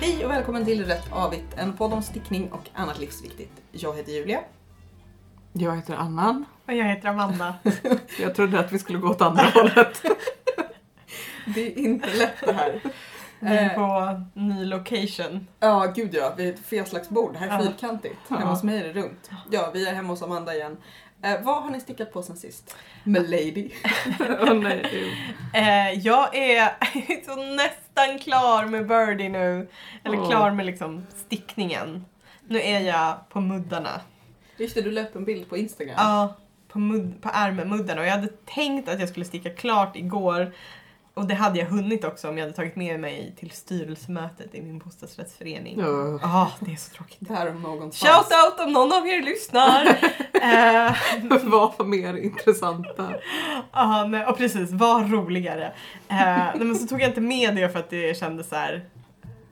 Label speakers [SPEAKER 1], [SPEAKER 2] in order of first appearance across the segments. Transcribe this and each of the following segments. [SPEAKER 1] Hej och välkommen till Rätt Avigt, en podd om stickning och annat livsviktigt. Jag heter Julia.
[SPEAKER 2] Jag heter Annan.
[SPEAKER 3] Och jag heter Amanda.
[SPEAKER 2] Jag trodde att vi skulle gå åt andra hållet.
[SPEAKER 1] Det är inte lätt det här.
[SPEAKER 3] Vi är
[SPEAKER 1] Eh.
[SPEAKER 3] på ny location.
[SPEAKER 1] Ja, gud ja. Vi är ett fel slags bord. Det här är
[SPEAKER 3] Ja.
[SPEAKER 1] fyrkantigt.
[SPEAKER 2] Ja.
[SPEAKER 1] Hemma hos mig är det runt. Ja, vi är hemma hos Amanda igen. Eh, vad har ni stickat på sen sist? Milady.
[SPEAKER 2] Åh nej, du.
[SPEAKER 3] Eh, jag är så nästan klar med Birdie nu. Eller
[SPEAKER 2] Åh.
[SPEAKER 3] klar med liksom stickningen. Nu är jag på muddarna.
[SPEAKER 1] Just det, du la upp en bild på Instagram.
[SPEAKER 3] Ja, på, mud, på ärmemuddarna. Och jag hade tänkt att jag skulle sticka klart igår. Och det hade jag hunnit också om jag hade tagit med mig till styrelsemötet i min bostadsrättsförening. Ja,
[SPEAKER 2] Ja.
[SPEAKER 3] det är så tråkigt.
[SPEAKER 1] Där om någonstans.
[SPEAKER 3] Shout out om någon av er lyssnar! eh,
[SPEAKER 2] Var mer intressanta.
[SPEAKER 3] Ja, nej, och precis. Var roligare. Eh, nej, men så tog jag inte med det för att det kändes så här,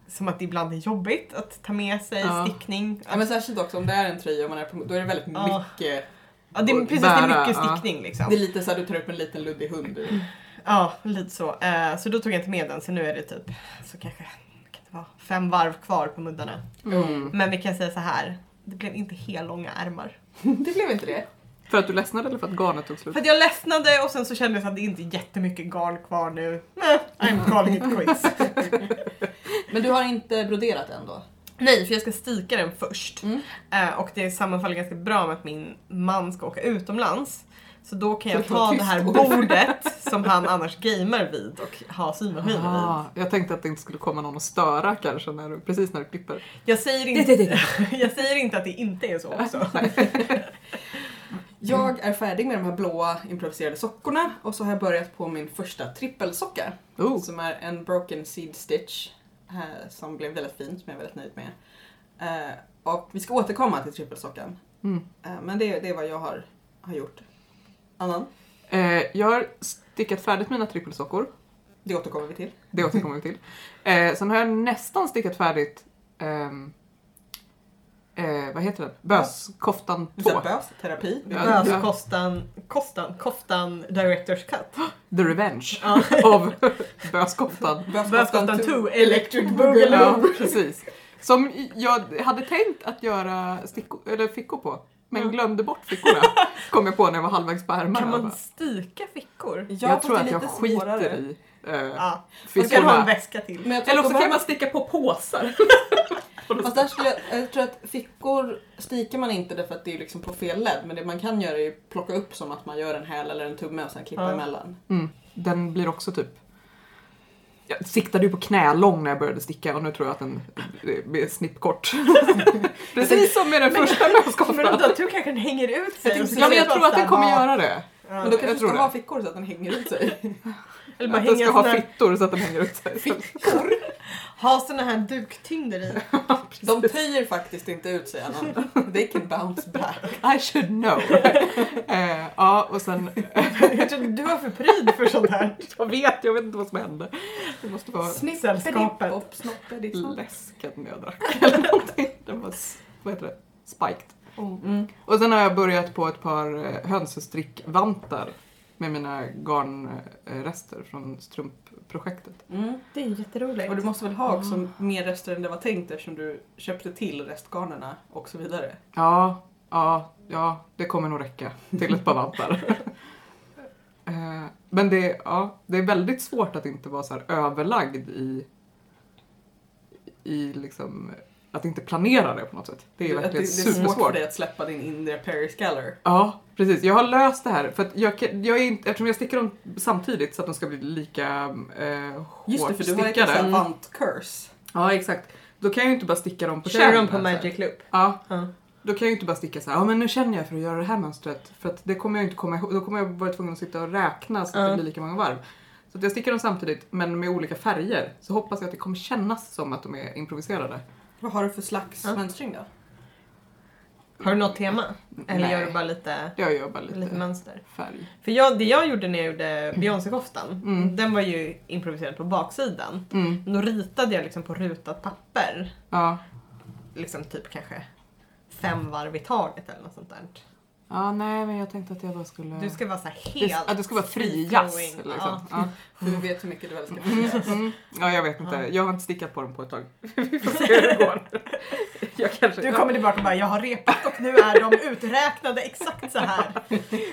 [SPEAKER 3] som att det ibland är jobbigt att ta med sig
[SPEAKER 2] Ja.
[SPEAKER 3] stickning.
[SPEAKER 1] Ja, men särskilt också om det är en tröja och man är på, då är det väldigt
[SPEAKER 3] Ja.
[SPEAKER 1] mycket.
[SPEAKER 3] Ja, det, är-
[SPEAKER 2] och
[SPEAKER 3] precis, det är
[SPEAKER 2] bära,
[SPEAKER 3] mycket
[SPEAKER 2] ja.
[SPEAKER 3] stickning liksom.
[SPEAKER 1] Det är lite så här, du tar upp en liten luddig hund ur.
[SPEAKER 3] Ja, lite så. Eh, så då tog jag inte med den, så nu är det typ så kanske kan det vara fem varv kvar på muddarna.
[SPEAKER 2] Mm.
[SPEAKER 3] Men vi kan säga så här, det blev inte helt långa ärmar.
[SPEAKER 1] Det blev inte det.
[SPEAKER 2] För att du ledsnade eller för att garnet tog slut?
[SPEAKER 3] För att jag ledsnade och sen så kände jag att det inte är jättemycket garn kvar nu. Eh, I'm calling it quits.
[SPEAKER 1] Men du har inte broderat än då?
[SPEAKER 3] Nej, för jag ska stika den först.
[SPEAKER 1] Mm.
[SPEAKER 3] Eh, och det sammanfaller ganska bra med att min man ska åka utomlands. Så då kan jag
[SPEAKER 1] Så det var
[SPEAKER 3] ta det här
[SPEAKER 1] tyst då.
[SPEAKER 3] bordet som han annars gamer vid och har symaskinen vid.
[SPEAKER 2] Ah, jag tänkte att det inte skulle komma någon och störa kanske när du, precis när du klipper.
[SPEAKER 3] Jag säger,
[SPEAKER 1] Det, det,
[SPEAKER 3] inte, jag säger inte att det inte är så också.
[SPEAKER 1] Jag är färdig med de här blåa improviserade sockorna och så har jag börjat på min första trippelsocka.
[SPEAKER 2] Oh.
[SPEAKER 1] Som är en broken seed stitch. eh, Som blev väldigt fin, som jag är väldigt nöjd med. Eh, Och vi ska återkomma till trippelsockan.
[SPEAKER 2] Mm.
[SPEAKER 1] Eh, Men det, det är vad jag har, har gjort. Annan,
[SPEAKER 2] Eh, jag har stickat färdigt mina trippelsockor.
[SPEAKER 1] det återkommer vi till.
[SPEAKER 2] Det återkommer vi till. Eh, sen har jag nästan stickat färdigt ehm, eh, vad heter den? Böskoftan 2.
[SPEAKER 1] Bös, terapi.
[SPEAKER 2] Ja.
[SPEAKER 3] Alltså, kostan, kostan, kostan director's cut.
[SPEAKER 2] The Revenge
[SPEAKER 3] Ja.
[SPEAKER 2] av Böskoftan
[SPEAKER 3] Böskoftan 2, electric
[SPEAKER 2] Ja,
[SPEAKER 3] boogaloo.
[SPEAKER 2] precis. Som jag hade tänkt att göra stickor, eller fickor på, men
[SPEAKER 3] Mm.
[SPEAKER 2] glömde bort fickorna. Kom jag på när jag var halvvägs på ärmarna.
[SPEAKER 3] Kan
[SPEAKER 2] Jag
[SPEAKER 3] man
[SPEAKER 2] bara,
[SPEAKER 3] stika fickor?
[SPEAKER 1] Ja,
[SPEAKER 2] jag
[SPEAKER 1] fast
[SPEAKER 2] tror
[SPEAKER 1] det är
[SPEAKER 2] att jag
[SPEAKER 1] lite
[SPEAKER 2] skiter
[SPEAKER 1] svårare.
[SPEAKER 2] i eh,
[SPEAKER 3] Ja, man kan ha en
[SPEAKER 2] fickorna.
[SPEAKER 3] väska till.
[SPEAKER 1] Men jag tror
[SPEAKER 2] Eller
[SPEAKER 1] att
[SPEAKER 2] också
[SPEAKER 1] då
[SPEAKER 2] kan
[SPEAKER 1] behöver-
[SPEAKER 2] man sticka på påsar.
[SPEAKER 1] Fast där skulle jag, jag tror att fickor stikar man inte därför att det är liksom på fel led. Men det man kan göra är ju plocka upp som att man gör en häl eller en tumme och sen klippa
[SPEAKER 3] Ja.
[SPEAKER 1] emellan.
[SPEAKER 2] Mm, den blir också typ... Jag siktade ju på knälång när jag började sticka och nu tror jag att den blir snippkort. precis som med den första
[SPEAKER 3] Men
[SPEAKER 2] löskoftan.
[SPEAKER 3] då, du kanske den hänger ut
[SPEAKER 1] Jag
[SPEAKER 3] sig. och
[SPEAKER 1] tänkte
[SPEAKER 3] så
[SPEAKER 2] Ja, men
[SPEAKER 3] ser
[SPEAKER 2] jag
[SPEAKER 3] man
[SPEAKER 2] tror att den
[SPEAKER 3] såhär,
[SPEAKER 2] kommer
[SPEAKER 3] ja.
[SPEAKER 2] göra det.
[SPEAKER 1] Men då
[SPEAKER 3] Ja.
[SPEAKER 2] jag
[SPEAKER 1] kanske
[SPEAKER 2] tror
[SPEAKER 1] ska
[SPEAKER 2] det.
[SPEAKER 1] ha fickor så att den hänger ut sig.
[SPEAKER 3] Eller bara
[SPEAKER 2] Att den
[SPEAKER 3] hänga
[SPEAKER 2] ska ha
[SPEAKER 3] såna här
[SPEAKER 2] fittor så att den hänger ut sig.
[SPEAKER 3] Ha såna här duktyngder i.
[SPEAKER 1] De töjer faktiskt inte ut sig Anna. They can bounce back.
[SPEAKER 2] I should know. eh, ja, och sen... eh,
[SPEAKER 3] Jag trodde du var för pryd för sånt här.
[SPEAKER 2] Jag vet, jag vet inte vad som hände. Det måste vara
[SPEAKER 3] Sällskapet.
[SPEAKER 1] Snippedipp-bopp, snoppedipp-snopp.
[SPEAKER 2] läsken jag drack eller någonting. Den var, s- vad heter det, spiked.
[SPEAKER 1] Mm.
[SPEAKER 2] Och sen har jag börjat på ett par eh, hönsestrickvantar med mina garnrester från strumpprojektet.
[SPEAKER 1] Mm.
[SPEAKER 3] Det är jätteroligt.
[SPEAKER 1] Och du måste väl ha också mer rester än det var tänkt eftersom du köpte till restgarnerna och så vidare.
[SPEAKER 2] Ja, ja, ja, det kommer nog räcka till ett par vantar. Eh, Men det, ja, det är väldigt svårt att inte vara så här överlagd i, i liksom, att inte planera det på något sätt. Det är
[SPEAKER 1] Att det, det
[SPEAKER 2] verkligen
[SPEAKER 1] är svårt för
[SPEAKER 2] supersvårt.
[SPEAKER 1] dig att släppa din inre Perry Scaller.
[SPEAKER 2] Ja, precis. Jag har löst det här. För att jag, kan- jag är inte, eftersom jag stickar dem samtidigt så att de ska bli lika eh, hårt
[SPEAKER 1] Just det, för du har ett
[SPEAKER 2] stickade.
[SPEAKER 1] savant curse.
[SPEAKER 2] Ja, exakt. Då kan jag ju inte bara sticka dem på
[SPEAKER 3] Kör dem
[SPEAKER 2] kärnan,
[SPEAKER 3] på
[SPEAKER 2] så här.
[SPEAKER 3] Magic Loop.
[SPEAKER 2] Ja,
[SPEAKER 3] Ja.
[SPEAKER 2] då kan jag ju inte bara sticka så här, ja men nu känner jag för att göra det här mönstret. För att det kommer jag inte komma ihåg. Då kommer jag vara tvungen att sitta och räkna så att det
[SPEAKER 3] Ja.
[SPEAKER 2] blir lika många varv. Så att jag stickar dem samtidigt men med olika färger. Så hoppas jag att det kommer kännas som att de är improviserade.
[SPEAKER 1] Vad har du för slags
[SPEAKER 3] Ja.
[SPEAKER 1] mönstring då?
[SPEAKER 3] Har du något tema? Eller
[SPEAKER 2] Nej.
[SPEAKER 3] gör du bara lite,
[SPEAKER 2] Jag gör bara lite,
[SPEAKER 3] lite mönster?
[SPEAKER 2] färg.
[SPEAKER 3] För jag, det jag gjorde när jag gjorde Beyoncé-koftan,
[SPEAKER 2] Mm.
[SPEAKER 3] den var ju improviserad på baksidan.
[SPEAKER 2] Mm,
[SPEAKER 3] Då ritade jag liksom på rutat papper,
[SPEAKER 2] ja.
[SPEAKER 3] liksom typ kanske fem varv i taget eller något sånt där.
[SPEAKER 2] Ja, nej, men jag tänkte att jag bara skulle...
[SPEAKER 3] Du ska vara så här
[SPEAKER 2] Mm. Det-
[SPEAKER 3] helt...
[SPEAKER 2] att det ska vara fri
[SPEAKER 3] free
[SPEAKER 2] jazz.
[SPEAKER 3] flowing.
[SPEAKER 2] Liksom.
[SPEAKER 3] Ja.
[SPEAKER 2] Ja.
[SPEAKER 1] Du vet hur mycket du älskar mig.
[SPEAKER 2] Mm, mm. ja, jag vet inte. Jag har inte stickat på dem på ett tag. Vi får se hur det går. Jag kanske...
[SPEAKER 3] Du kommer tillbaka och bara jag har repat och nu är de uträknade exakt så här.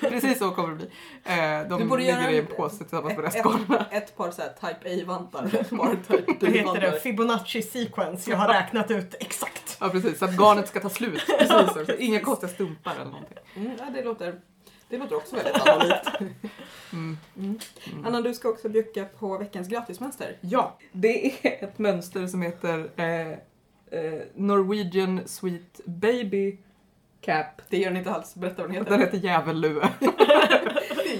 [SPEAKER 2] Precis så kommer det bli. Eh, De
[SPEAKER 1] Du borde
[SPEAKER 2] ligger
[SPEAKER 1] göra
[SPEAKER 2] i en
[SPEAKER 1] en-
[SPEAKER 2] påse tillsammans med
[SPEAKER 1] Ett,
[SPEAKER 2] resten.
[SPEAKER 1] ett, ett par så här type A-vantar, ett par typ type
[SPEAKER 3] Det heter det
[SPEAKER 1] D-vantar.
[SPEAKER 3] Fibonacci sequence. Jag har räknat ut exakt.
[SPEAKER 2] Ja, precis. Så att garnet ska ta slut. Precis.
[SPEAKER 3] precis.
[SPEAKER 2] Inga konstiga stumpar eller någonting.
[SPEAKER 1] Mm, ja, det, låter, det låter också väldigt annorlunda.
[SPEAKER 2] Mm.
[SPEAKER 1] Mm.
[SPEAKER 2] Mm.
[SPEAKER 1] Anna, du ska också bjucka på veckans gratismönster.
[SPEAKER 2] Ja, det är ett mönster som heter eh, eh, Norwegian Sweet Baby Cap.
[SPEAKER 1] Det gör ni inte alls. Berätta vad den heter.
[SPEAKER 2] Den heter Djävullue.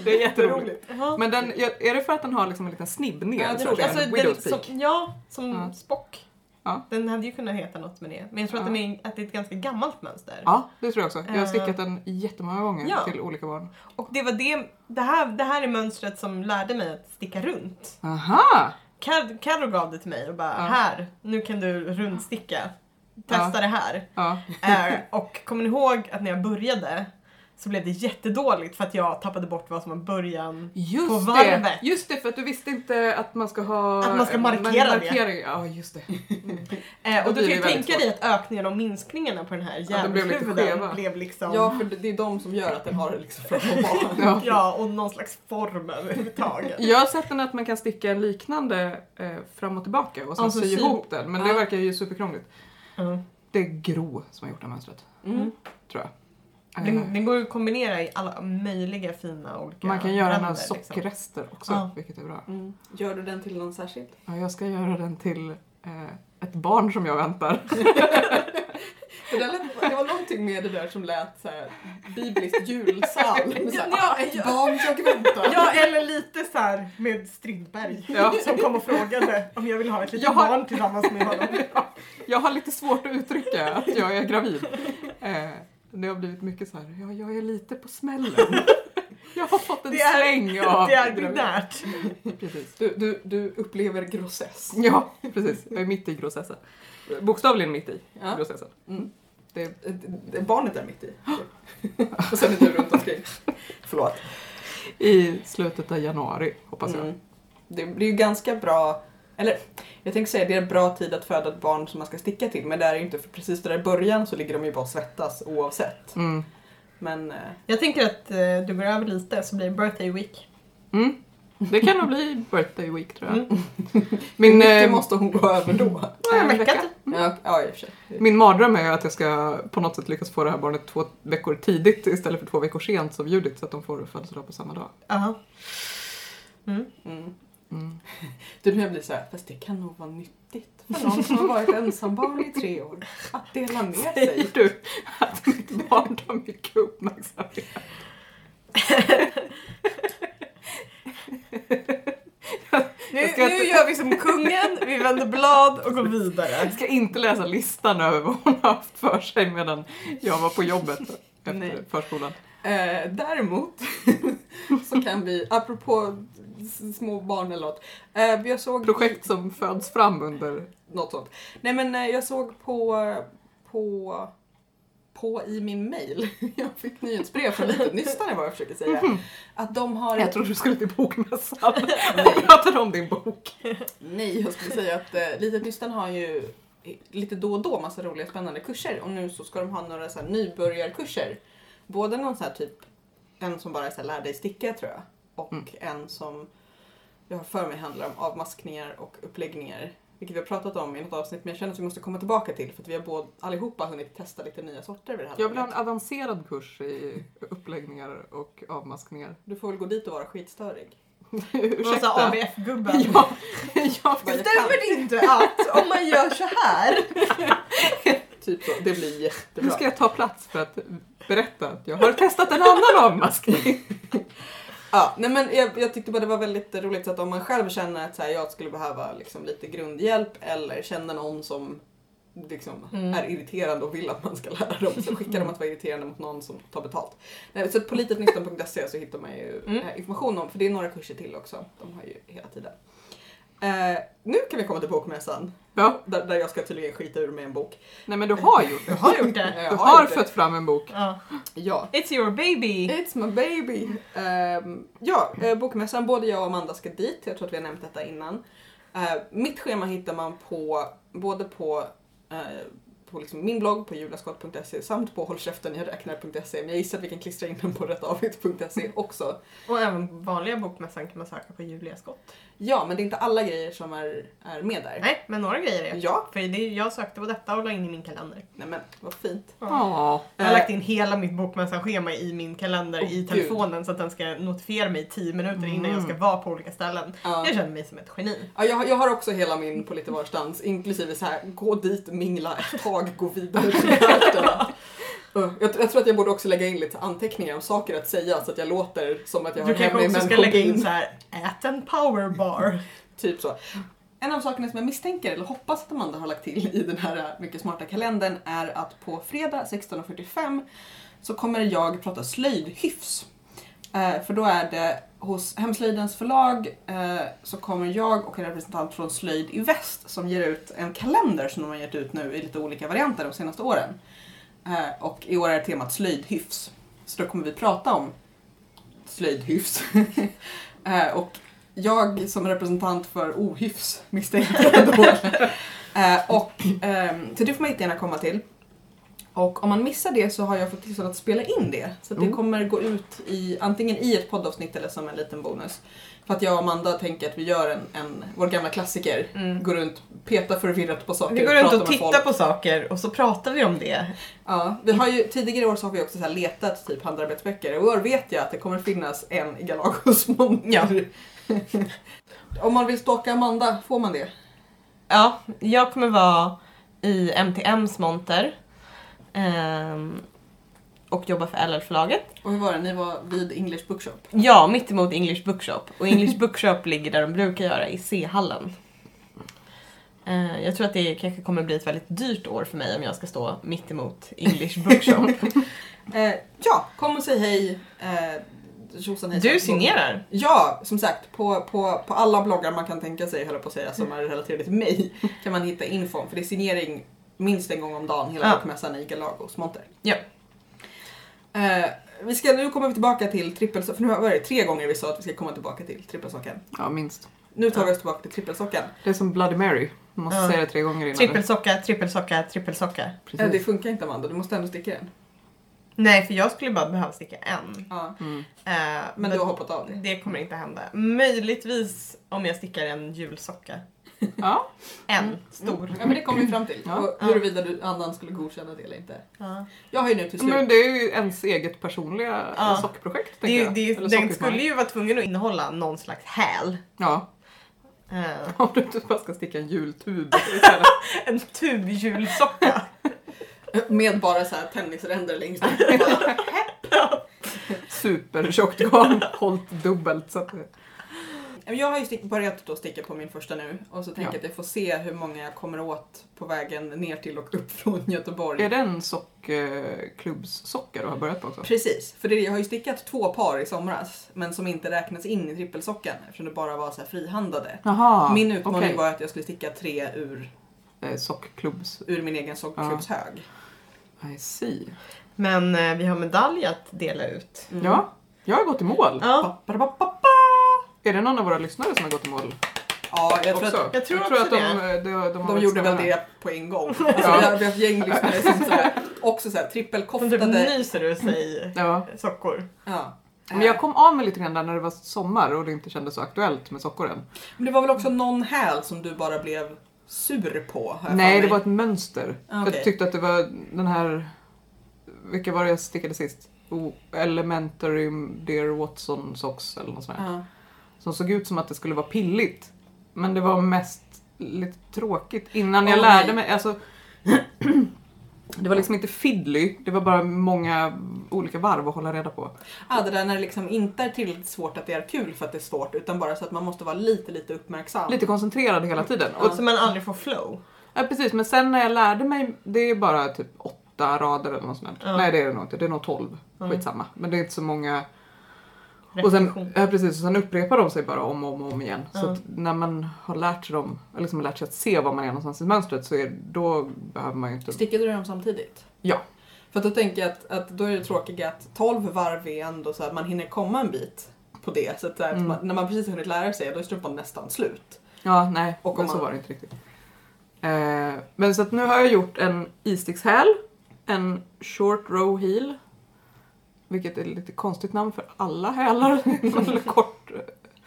[SPEAKER 1] Det
[SPEAKER 2] är jätteroligt.
[SPEAKER 3] Ja.
[SPEAKER 2] Men den, är det för att den har liksom en liten snibb ner?
[SPEAKER 1] Ja, det
[SPEAKER 2] så
[SPEAKER 1] tror
[SPEAKER 2] att
[SPEAKER 1] jag.
[SPEAKER 2] är en
[SPEAKER 3] Alltså,
[SPEAKER 2] widow's
[SPEAKER 3] den,
[SPEAKER 2] peak?
[SPEAKER 3] som, ja, som
[SPEAKER 2] Ja.
[SPEAKER 3] Spock.
[SPEAKER 2] Ja.
[SPEAKER 3] Den hade ju kunnat heta något med det. Men jag tror att,
[SPEAKER 2] Ja.
[SPEAKER 3] den är, att det är ett ganska gammalt mönster.
[SPEAKER 2] Ja, det tror jag också. Jag har stickat
[SPEAKER 3] Eh,
[SPEAKER 2] den jättemånga gånger
[SPEAKER 3] ja.
[SPEAKER 2] till olika barn.
[SPEAKER 3] Och det var det, det här, det här är mönstret som lärde mig att sticka runt.
[SPEAKER 2] Aha!
[SPEAKER 3] Kar- Carro gav det till mig och bara
[SPEAKER 2] Ja.
[SPEAKER 3] här, nu kan du rundsticka. Testa
[SPEAKER 2] Ja.
[SPEAKER 3] det här.
[SPEAKER 2] Ja,
[SPEAKER 3] Eh, och kommer ni ihåg att när jag började så blev det jättedåligt för att jag tappade bort vad som var början.
[SPEAKER 2] just
[SPEAKER 3] På
[SPEAKER 2] det!
[SPEAKER 3] varvet.
[SPEAKER 2] Just det, för att du visste inte att man ska ha...
[SPEAKER 3] Att man ska
[SPEAKER 2] eh,
[SPEAKER 3] markera det.
[SPEAKER 2] markering. Ja, just det.
[SPEAKER 3] Eh,
[SPEAKER 2] blir det
[SPEAKER 3] och du kan ju
[SPEAKER 2] väldigt
[SPEAKER 3] tänka dig att ökningarna och minskningarna på den här
[SPEAKER 2] Ja, de blev lite
[SPEAKER 3] djävulshuvuden
[SPEAKER 2] skeva.
[SPEAKER 3] blev, liksom...
[SPEAKER 1] Ja, för det det är de som gör att den har det liksom för att vara.
[SPEAKER 2] Ja.
[SPEAKER 3] Ja, och någon slags form överhuvudtaget.
[SPEAKER 2] Jag har sett den att man kan sticka en liknande eh, fram och tillbaka och sen
[SPEAKER 3] Alltså,
[SPEAKER 2] sy
[SPEAKER 3] sy-
[SPEAKER 2] ihop den, men det
[SPEAKER 1] Ja.
[SPEAKER 2] verkar ju superkrångligt.
[SPEAKER 3] Mm.
[SPEAKER 2] Det är Gro som har gjort det här mönstret,
[SPEAKER 1] Mm.
[SPEAKER 2] tror jag. Eh,
[SPEAKER 3] Den, den går ju att kombinera i alla möjliga fina olika
[SPEAKER 2] man kan göra den av
[SPEAKER 3] bränder, liksom.
[SPEAKER 2] sockerrester också,
[SPEAKER 3] Ja.
[SPEAKER 2] vilket är bra.
[SPEAKER 1] Mm. Gör du den till någon särskild?
[SPEAKER 2] Ja, jag ska göra den till eh, ett barn som jag väntar.
[SPEAKER 1] För det, lät, det var någonting med det där som lät så här, biblisk julsalm. Så här, "Ah,
[SPEAKER 3] Ja, ja.
[SPEAKER 1] Barn jag väntar.
[SPEAKER 3] Ja, eller lite så här med Strindberg
[SPEAKER 2] Ja.
[SPEAKER 3] som kom och frågade om jag vill ha ett litet
[SPEAKER 2] Jag har-
[SPEAKER 3] barn tillsammans med honom.
[SPEAKER 2] Jag har lite svårt att uttrycka att jag är gravid. Eh, det har blivit mycket så här, ja, jag är lite på smällen. Jag har fått en
[SPEAKER 3] Det är-
[SPEAKER 2] släng av
[SPEAKER 3] Det är
[SPEAKER 2] gravid.
[SPEAKER 3] binärt.
[SPEAKER 2] Precis.
[SPEAKER 1] Du, du, du upplever grossess.
[SPEAKER 2] Ja, precis. Jag är mitt i grosessen. Bokstavligen mitt i
[SPEAKER 1] Ja.
[SPEAKER 2] grosessen.
[SPEAKER 1] Mm.
[SPEAKER 2] Det
[SPEAKER 1] Det- det- Barnet är mitt i. Och sen är du runt omkring. Förlåt.
[SPEAKER 2] I slutet av januari, hoppas jag.
[SPEAKER 1] Mm. Det, det är ju ganska bra, eller jag tänker säga det är en bra tid att föda ett barn som man ska sticka till men det är ju inte för precis där i början så ligger de ju bara och svettas oavsett.
[SPEAKER 2] Mm.
[SPEAKER 1] Men eh,
[SPEAKER 3] Jag tänker att eh, du går över lite så blir det birthday week.
[SPEAKER 2] Mm. Det kan nog bli birthday week, tror jag.
[SPEAKER 3] Mm.
[SPEAKER 2] Min,
[SPEAKER 1] mycket
[SPEAKER 2] eh,
[SPEAKER 3] ehm,
[SPEAKER 1] måste hon gå över då.
[SPEAKER 3] Ja, en
[SPEAKER 2] en
[SPEAKER 3] Eh, vecka.
[SPEAKER 2] vecka.
[SPEAKER 1] Ja, ja i och för sig.
[SPEAKER 2] Min mardröm är ju att jag ska på något sätt lyckas få det här barnet två veckor tidigt istället för två veckor sent som Judith, så att de får födelsedag på samma dag.
[SPEAKER 3] Aha. Mm.
[SPEAKER 1] Mm.
[SPEAKER 2] Mm.
[SPEAKER 1] Du, nu blir så här, fast det kan nog vara nyttigt för någon som har varit ensambarn i tre år att dela med sig.
[SPEAKER 2] Säger du att mitt barn tar mycket uppmärksamhet?
[SPEAKER 3] Nu,
[SPEAKER 2] Jag ska
[SPEAKER 3] nu
[SPEAKER 2] inte-
[SPEAKER 3] gör vi som kungen, vi vänder blad och går vidare.
[SPEAKER 2] Jag ska inte läsa listan över vad hon har haft för sig medan jag var på jobbet efter
[SPEAKER 1] Nej.
[SPEAKER 2] förskolan.
[SPEAKER 1] Eh, däremot så kan vi, apropå s- små barn eller något. Eh, jag såg
[SPEAKER 2] Projekt som föds fram under...
[SPEAKER 1] något sånt. Nej men eh, jag såg på, på, på i min mail, jag fick nyhetsbrev från lite nystan är vad jag försöker säga, att de har...
[SPEAKER 2] Mhm. Jag trodde du skulle till bokmässan och pratade om din bok.
[SPEAKER 1] Nej, jag skulle säga att eh, Litet Nystan har ju eh, lite då och då massa roliga spännande kurser och nu så ska de ha några så här nybörjarkurser. Både någon så här typ, en som bara är så här, lär dig sticka tror jag och
[SPEAKER 2] Mm.
[SPEAKER 1] en som jag har för mig handlar om avmaskningar och uppläggningar. Vilket vi har pratat om i något avsnitt men jag känner att vi måste komma tillbaka till för att vi har både, allihopa hunnit testa lite nya sorter vid det här
[SPEAKER 2] Jag vill ha
[SPEAKER 1] laget.
[SPEAKER 2] en avancerad kurs i uppläggningar och avmaskningar.
[SPEAKER 1] Du får väl gå dit och vara skitstörig.
[SPEAKER 3] Någon sån
[SPEAKER 2] Ursäkta.
[SPEAKER 3] ABF-gubben.
[SPEAKER 2] Ja, ja,
[SPEAKER 1] Bara, jag kan.
[SPEAKER 3] Stämmer det inte att om man gör så här
[SPEAKER 1] Typ så, det blir jättebra.
[SPEAKER 2] nu ska jag ta plats för att berätta att jag har testat en annan avmaskning.
[SPEAKER 1] Ja, nej men jag, jag tyckte bara det var väldigt roligt så att om man själv känner att så här, jag skulle behöva liksom lite grundhjälp eller känner någon som liksom
[SPEAKER 3] Mm.
[SPEAKER 1] är irriterande och vill att man ska lära dem så skickar de att vara irriterande mot någon som tar betalt. Nej, så på litetnystan.se så hittar man ju
[SPEAKER 3] Mm.
[SPEAKER 1] eh, information om, för det är några kurser till också. De har ju hela tiden. Eh, nu kan vi komma till bokmässan.
[SPEAKER 2] Ja.
[SPEAKER 1] Där, där jag ska tydligen skita ur mig en bok.
[SPEAKER 2] Nej men du har gjort
[SPEAKER 3] Jag
[SPEAKER 2] det.
[SPEAKER 3] har gjort
[SPEAKER 1] Eh,
[SPEAKER 3] det.
[SPEAKER 1] jag
[SPEAKER 2] Du har
[SPEAKER 1] gjort det.
[SPEAKER 2] fött fram en bok.
[SPEAKER 3] Ja.
[SPEAKER 1] Ja.
[SPEAKER 3] It's your baby.
[SPEAKER 1] It's my baby. Ehm, ja, eh, bokmässan. Både jag och Amanda ska dit. Jag tror att vi har nämnt detta innan. Eh, mitt schema hittar man på både på, eh, på liksom min blogg på julaskott.se samt på hållkäftenjagräknar.se. Men jag gissar att vi kan klistra in den på rättavigt.se också.
[SPEAKER 3] Och även vanliga bokmässan kan man söka på Julia Skott.
[SPEAKER 1] Ja, men det är inte alla grejer som är, är med där.
[SPEAKER 3] Nej, men några grejer är
[SPEAKER 1] Ja,
[SPEAKER 3] För det, jag sökte på detta och la in i min kalender.
[SPEAKER 1] nej men vad fint.
[SPEAKER 2] Ja.
[SPEAKER 3] Jag har lagt in hela mitt bokmässan-schema i min kalender
[SPEAKER 1] Åh,
[SPEAKER 3] i
[SPEAKER 1] gud. Mm.
[SPEAKER 3] telefonen så att den ska notifiera mig 10 minuter innan jag ska vara på olika ställen.
[SPEAKER 1] Ja.
[SPEAKER 3] Jag känner mig som ett geni.
[SPEAKER 1] Ja, jag, har- jag har också hela min på lite varstans, inklusive så här, gå dit, mingla ett tag, gå vidare till världen. Uh, jag, jag tror att jag borde också lägga in lite anteckningar om saker att säga så att jag låter som att jag
[SPEAKER 3] Du
[SPEAKER 1] har hemma
[SPEAKER 3] kanske
[SPEAKER 1] i
[SPEAKER 3] också ska
[SPEAKER 1] Mänskog
[SPEAKER 3] lägga in så här: ät en powerbar.
[SPEAKER 1] Typ så. En av sakerna som jag misstänker, eller hoppas att Amanda har lagt till i den här mycket smarta kalendern, är att på fredag 16.45 så kommer jag prata slöjdhyfs. Eh, för då är det hos Hemslöjdens förlag eh, så kommer jag och en representant från Slöjd i Väst som ger ut en kalender som de har gett ut nu i lite olika varianter de senaste åren. Eh, och i år är temat slöjdhyfs. Så då kommer vi prata om slöjdhyfs. eh, och jag som representant för ohyfs misstänkte jag då. eh, och, ehm, så det får man jättegärna komma till. Och om man missar det så har jag fått tillstånd att spela in det. Så att det
[SPEAKER 3] Mm.
[SPEAKER 2] Oh.
[SPEAKER 1] kommer gå ut i, antingen i ett poddavsnitt eller som en liten bonus. För att jag och Amanda tänker att vi gör en, en vår gamla klassiker.
[SPEAKER 3] Mm.
[SPEAKER 1] Går runt, petar förvirrat på saker.
[SPEAKER 3] Vi går runt
[SPEAKER 1] pratar
[SPEAKER 3] och
[SPEAKER 1] med
[SPEAKER 3] tittar på saker och så pratar vi om det.
[SPEAKER 1] Ja, vi har ju, tidigare år så har vi också så här letat typ handarbetsböcker och i år vet jag att det kommer finnas en i Galagos monter. Om man vill stalka Amanda, får man det?
[SPEAKER 3] Ja, jag kommer vara i MTMs monter. ehm, och jobba för LL-förlaget.
[SPEAKER 1] Och hur var det, ni var vid English Bookshop?
[SPEAKER 3] Ja, mittemot English Bookshop. Och English Bookshop ligger där de brukar göra, i C-hallen. Eh, jag tror att det kanske kommer bli ett väldigt dyrt år för mig om jag ska stå mittemot English Bookshop.
[SPEAKER 1] Eh, ja, kom och säg hej. Eh, tjosan hejsan.
[SPEAKER 3] du signerar!
[SPEAKER 1] Ja, som sagt, på, på, på alla bloggar man kan tänka sig, höll jag på att säga, som är relaterade till mig, kan man hitta infon. För det är signering minst en gång om dagen, hela
[SPEAKER 3] Ja.
[SPEAKER 1] bokmässan i Galagos monter.
[SPEAKER 3] Ja.
[SPEAKER 1] Eh, vi ska, nu kommer vi tillbaka till trippelsocken, för nu var det tre gånger vi sa att vi ska komma tillbaka till trippelsocken.
[SPEAKER 2] Ja, minst.
[SPEAKER 1] Nu tar vi oss tillbaka till trippelsocken. Eh,
[SPEAKER 2] Det är som Bloody Mary. Man måste
[SPEAKER 3] Ja.
[SPEAKER 2] säga det tre gånger innan.
[SPEAKER 3] Trippelsocka, trippelsocka, trippelsocka.
[SPEAKER 1] Eh, det
[SPEAKER 2] Precis.
[SPEAKER 1] funkar inte Amanda, du måste ändå sticka den.
[SPEAKER 3] Nej, för jag skulle bara behöva sticka en.
[SPEAKER 1] Ja,
[SPEAKER 2] Mm.
[SPEAKER 3] Eh,
[SPEAKER 1] men du har hoppat av det.
[SPEAKER 3] Det kommer inte hända. Möjligtvis om jag stickar en julsocka.
[SPEAKER 2] Ja.
[SPEAKER 3] En stor.
[SPEAKER 1] Ja men det kom vi fram till.
[SPEAKER 2] Ja.
[SPEAKER 1] Och huruvida du, annan skulle godkänna det eller inte. Jag har ju nu till slut...
[SPEAKER 2] Men det är ju ens eget personliga
[SPEAKER 3] Ja.
[SPEAKER 2] sockprojekt. tänker
[SPEAKER 3] Det,
[SPEAKER 2] jag.
[SPEAKER 3] det,
[SPEAKER 2] Eller
[SPEAKER 3] den
[SPEAKER 2] sockerutmaning.
[SPEAKER 3] skulle ju vara tvungen att innehålla någon slags häl.
[SPEAKER 2] Ja,
[SPEAKER 3] Eh,
[SPEAKER 2] om du inte bara ska sticka en jultub istället.
[SPEAKER 3] en tub julsocka.
[SPEAKER 1] Med bara så här tennisränder längst upp.
[SPEAKER 2] Supertjockt garn, hållt dubbelt. Så att,
[SPEAKER 1] Men Jag har ju stick, börjat då sticka på min första nu och så tänker jag
[SPEAKER 2] Ja.
[SPEAKER 1] att jag får se hur många jag kommer åt på vägen ner till och upp från Göteborg.
[SPEAKER 2] är det en sockklubbssocka du har börjat på också?
[SPEAKER 1] Precis, för det, jag har ju stickat två par i somras men som inte räknas in i trippelsockan eftersom det bara var så här frihandade.
[SPEAKER 2] Jaha,
[SPEAKER 1] min utmaning
[SPEAKER 2] okej.
[SPEAKER 1] var att jag skulle sticka tre ur,
[SPEAKER 2] Eh, Sockklubbs...
[SPEAKER 1] ur min egen sockerklubbshög.
[SPEAKER 2] I see.
[SPEAKER 3] Men eh, vi har medalj att dela ut.
[SPEAKER 1] Mm.
[SPEAKER 2] Ja, jag har gått i mål.
[SPEAKER 3] Ja,
[SPEAKER 1] Ba, ba, ba, ba, ba.
[SPEAKER 2] Är det någon av våra lyssnare som har gått i mål
[SPEAKER 1] Ja, jag tror
[SPEAKER 2] också?
[SPEAKER 1] att
[SPEAKER 3] jag tror
[SPEAKER 2] jag tror
[SPEAKER 3] också
[SPEAKER 2] att de, de, de, har
[SPEAKER 1] de
[SPEAKER 2] varit
[SPEAKER 1] gjorde väl
[SPEAKER 2] snällare.
[SPEAKER 1] det på en gång. Alltså, vi har- Vi har ett gäng lyssnare som så här, också så här,
[SPEAKER 3] de typ
[SPEAKER 1] trippelkoftade.
[SPEAKER 3] nyser ur sig
[SPEAKER 2] Ja.
[SPEAKER 3] sockor.
[SPEAKER 1] Ja.
[SPEAKER 2] Men jag kom av mig lite grann där när det var sommar och det inte kändes så aktuellt med sockor än.
[SPEAKER 1] Men det var väl också någon häl som du bara blev sur på? har jag för
[SPEAKER 2] Nej, det
[SPEAKER 1] mig.
[SPEAKER 2] var ett mönster.
[SPEAKER 1] Ah, okej.
[SPEAKER 2] Jag tyckte att det var den här... Vilka var det jag stickade sist? Oh, Elementary Dear Watson Socks eller något sånt där.
[SPEAKER 1] Ja.
[SPEAKER 2] Som såg ut som att det skulle vara pilligt. Men det var mest lite tråkigt innan jag
[SPEAKER 1] Åh,
[SPEAKER 2] lärde
[SPEAKER 1] nej.
[SPEAKER 2] mig. Alltså, det var liksom inte fiddly, det var bara många olika varv att hålla reda på.
[SPEAKER 1] Ah, det där när det liksom inte är tillräckligt svårt att det är kul för att det är svårt utan bara så att man måste vara lite, lite uppmärksam.
[SPEAKER 2] Lite koncentrerad hela tiden. Och
[SPEAKER 3] Och så man aldrig får flow.
[SPEAKER 2] Ja precis, men sen när jag lärde mig, det är bara typ åtta rader eller något sånt. där.
[SPEAKER 3] Ja.
[SPEAKER 2] Nej det är det nog inte, det är nog tolv.
[SPEAKER 3] Mm.
[SPEAKER 2] Skitsamma. Men det är inte så många. Och sen,
[SPEAKER 3] Repetition.
[SPEAKER 2] ja, precis, och sen upprepar de sig bara om och om, och om igen. Så
[SPEAKER 3] Ja.
[SPEAKER 2] att när man har lärt sig, dem, eller liksom lärt sig att se var man är någonstans i mönstret så är, då behöver man ju inte...
[SPEAKER 1] Stickade du dem samtidigt?
[SPEAKER 2] Ja.
[SPEAKER 1] För att då tänker jag att, att då är det tråkiga att 12 varv är ändå så att man hinner komma en bit på det. Så att, så här,
[SPEAKER 2] Mm.
[SPEAKER 1] att man, när man precis har hunnit lära sig då är strumpan nästan slut.
[SPEAKER 2] Ja, nej,
[SPEAKER 1] Och om
[SPEAKER 2] men så
[SPEAKER 1] man-
[SPEAKER 2] var det inte riktigt. Eh, men så att nu har jag gjort en isstickshäl, en short row heel, vilket är lite konstigt namn för alla hälar. eller kort.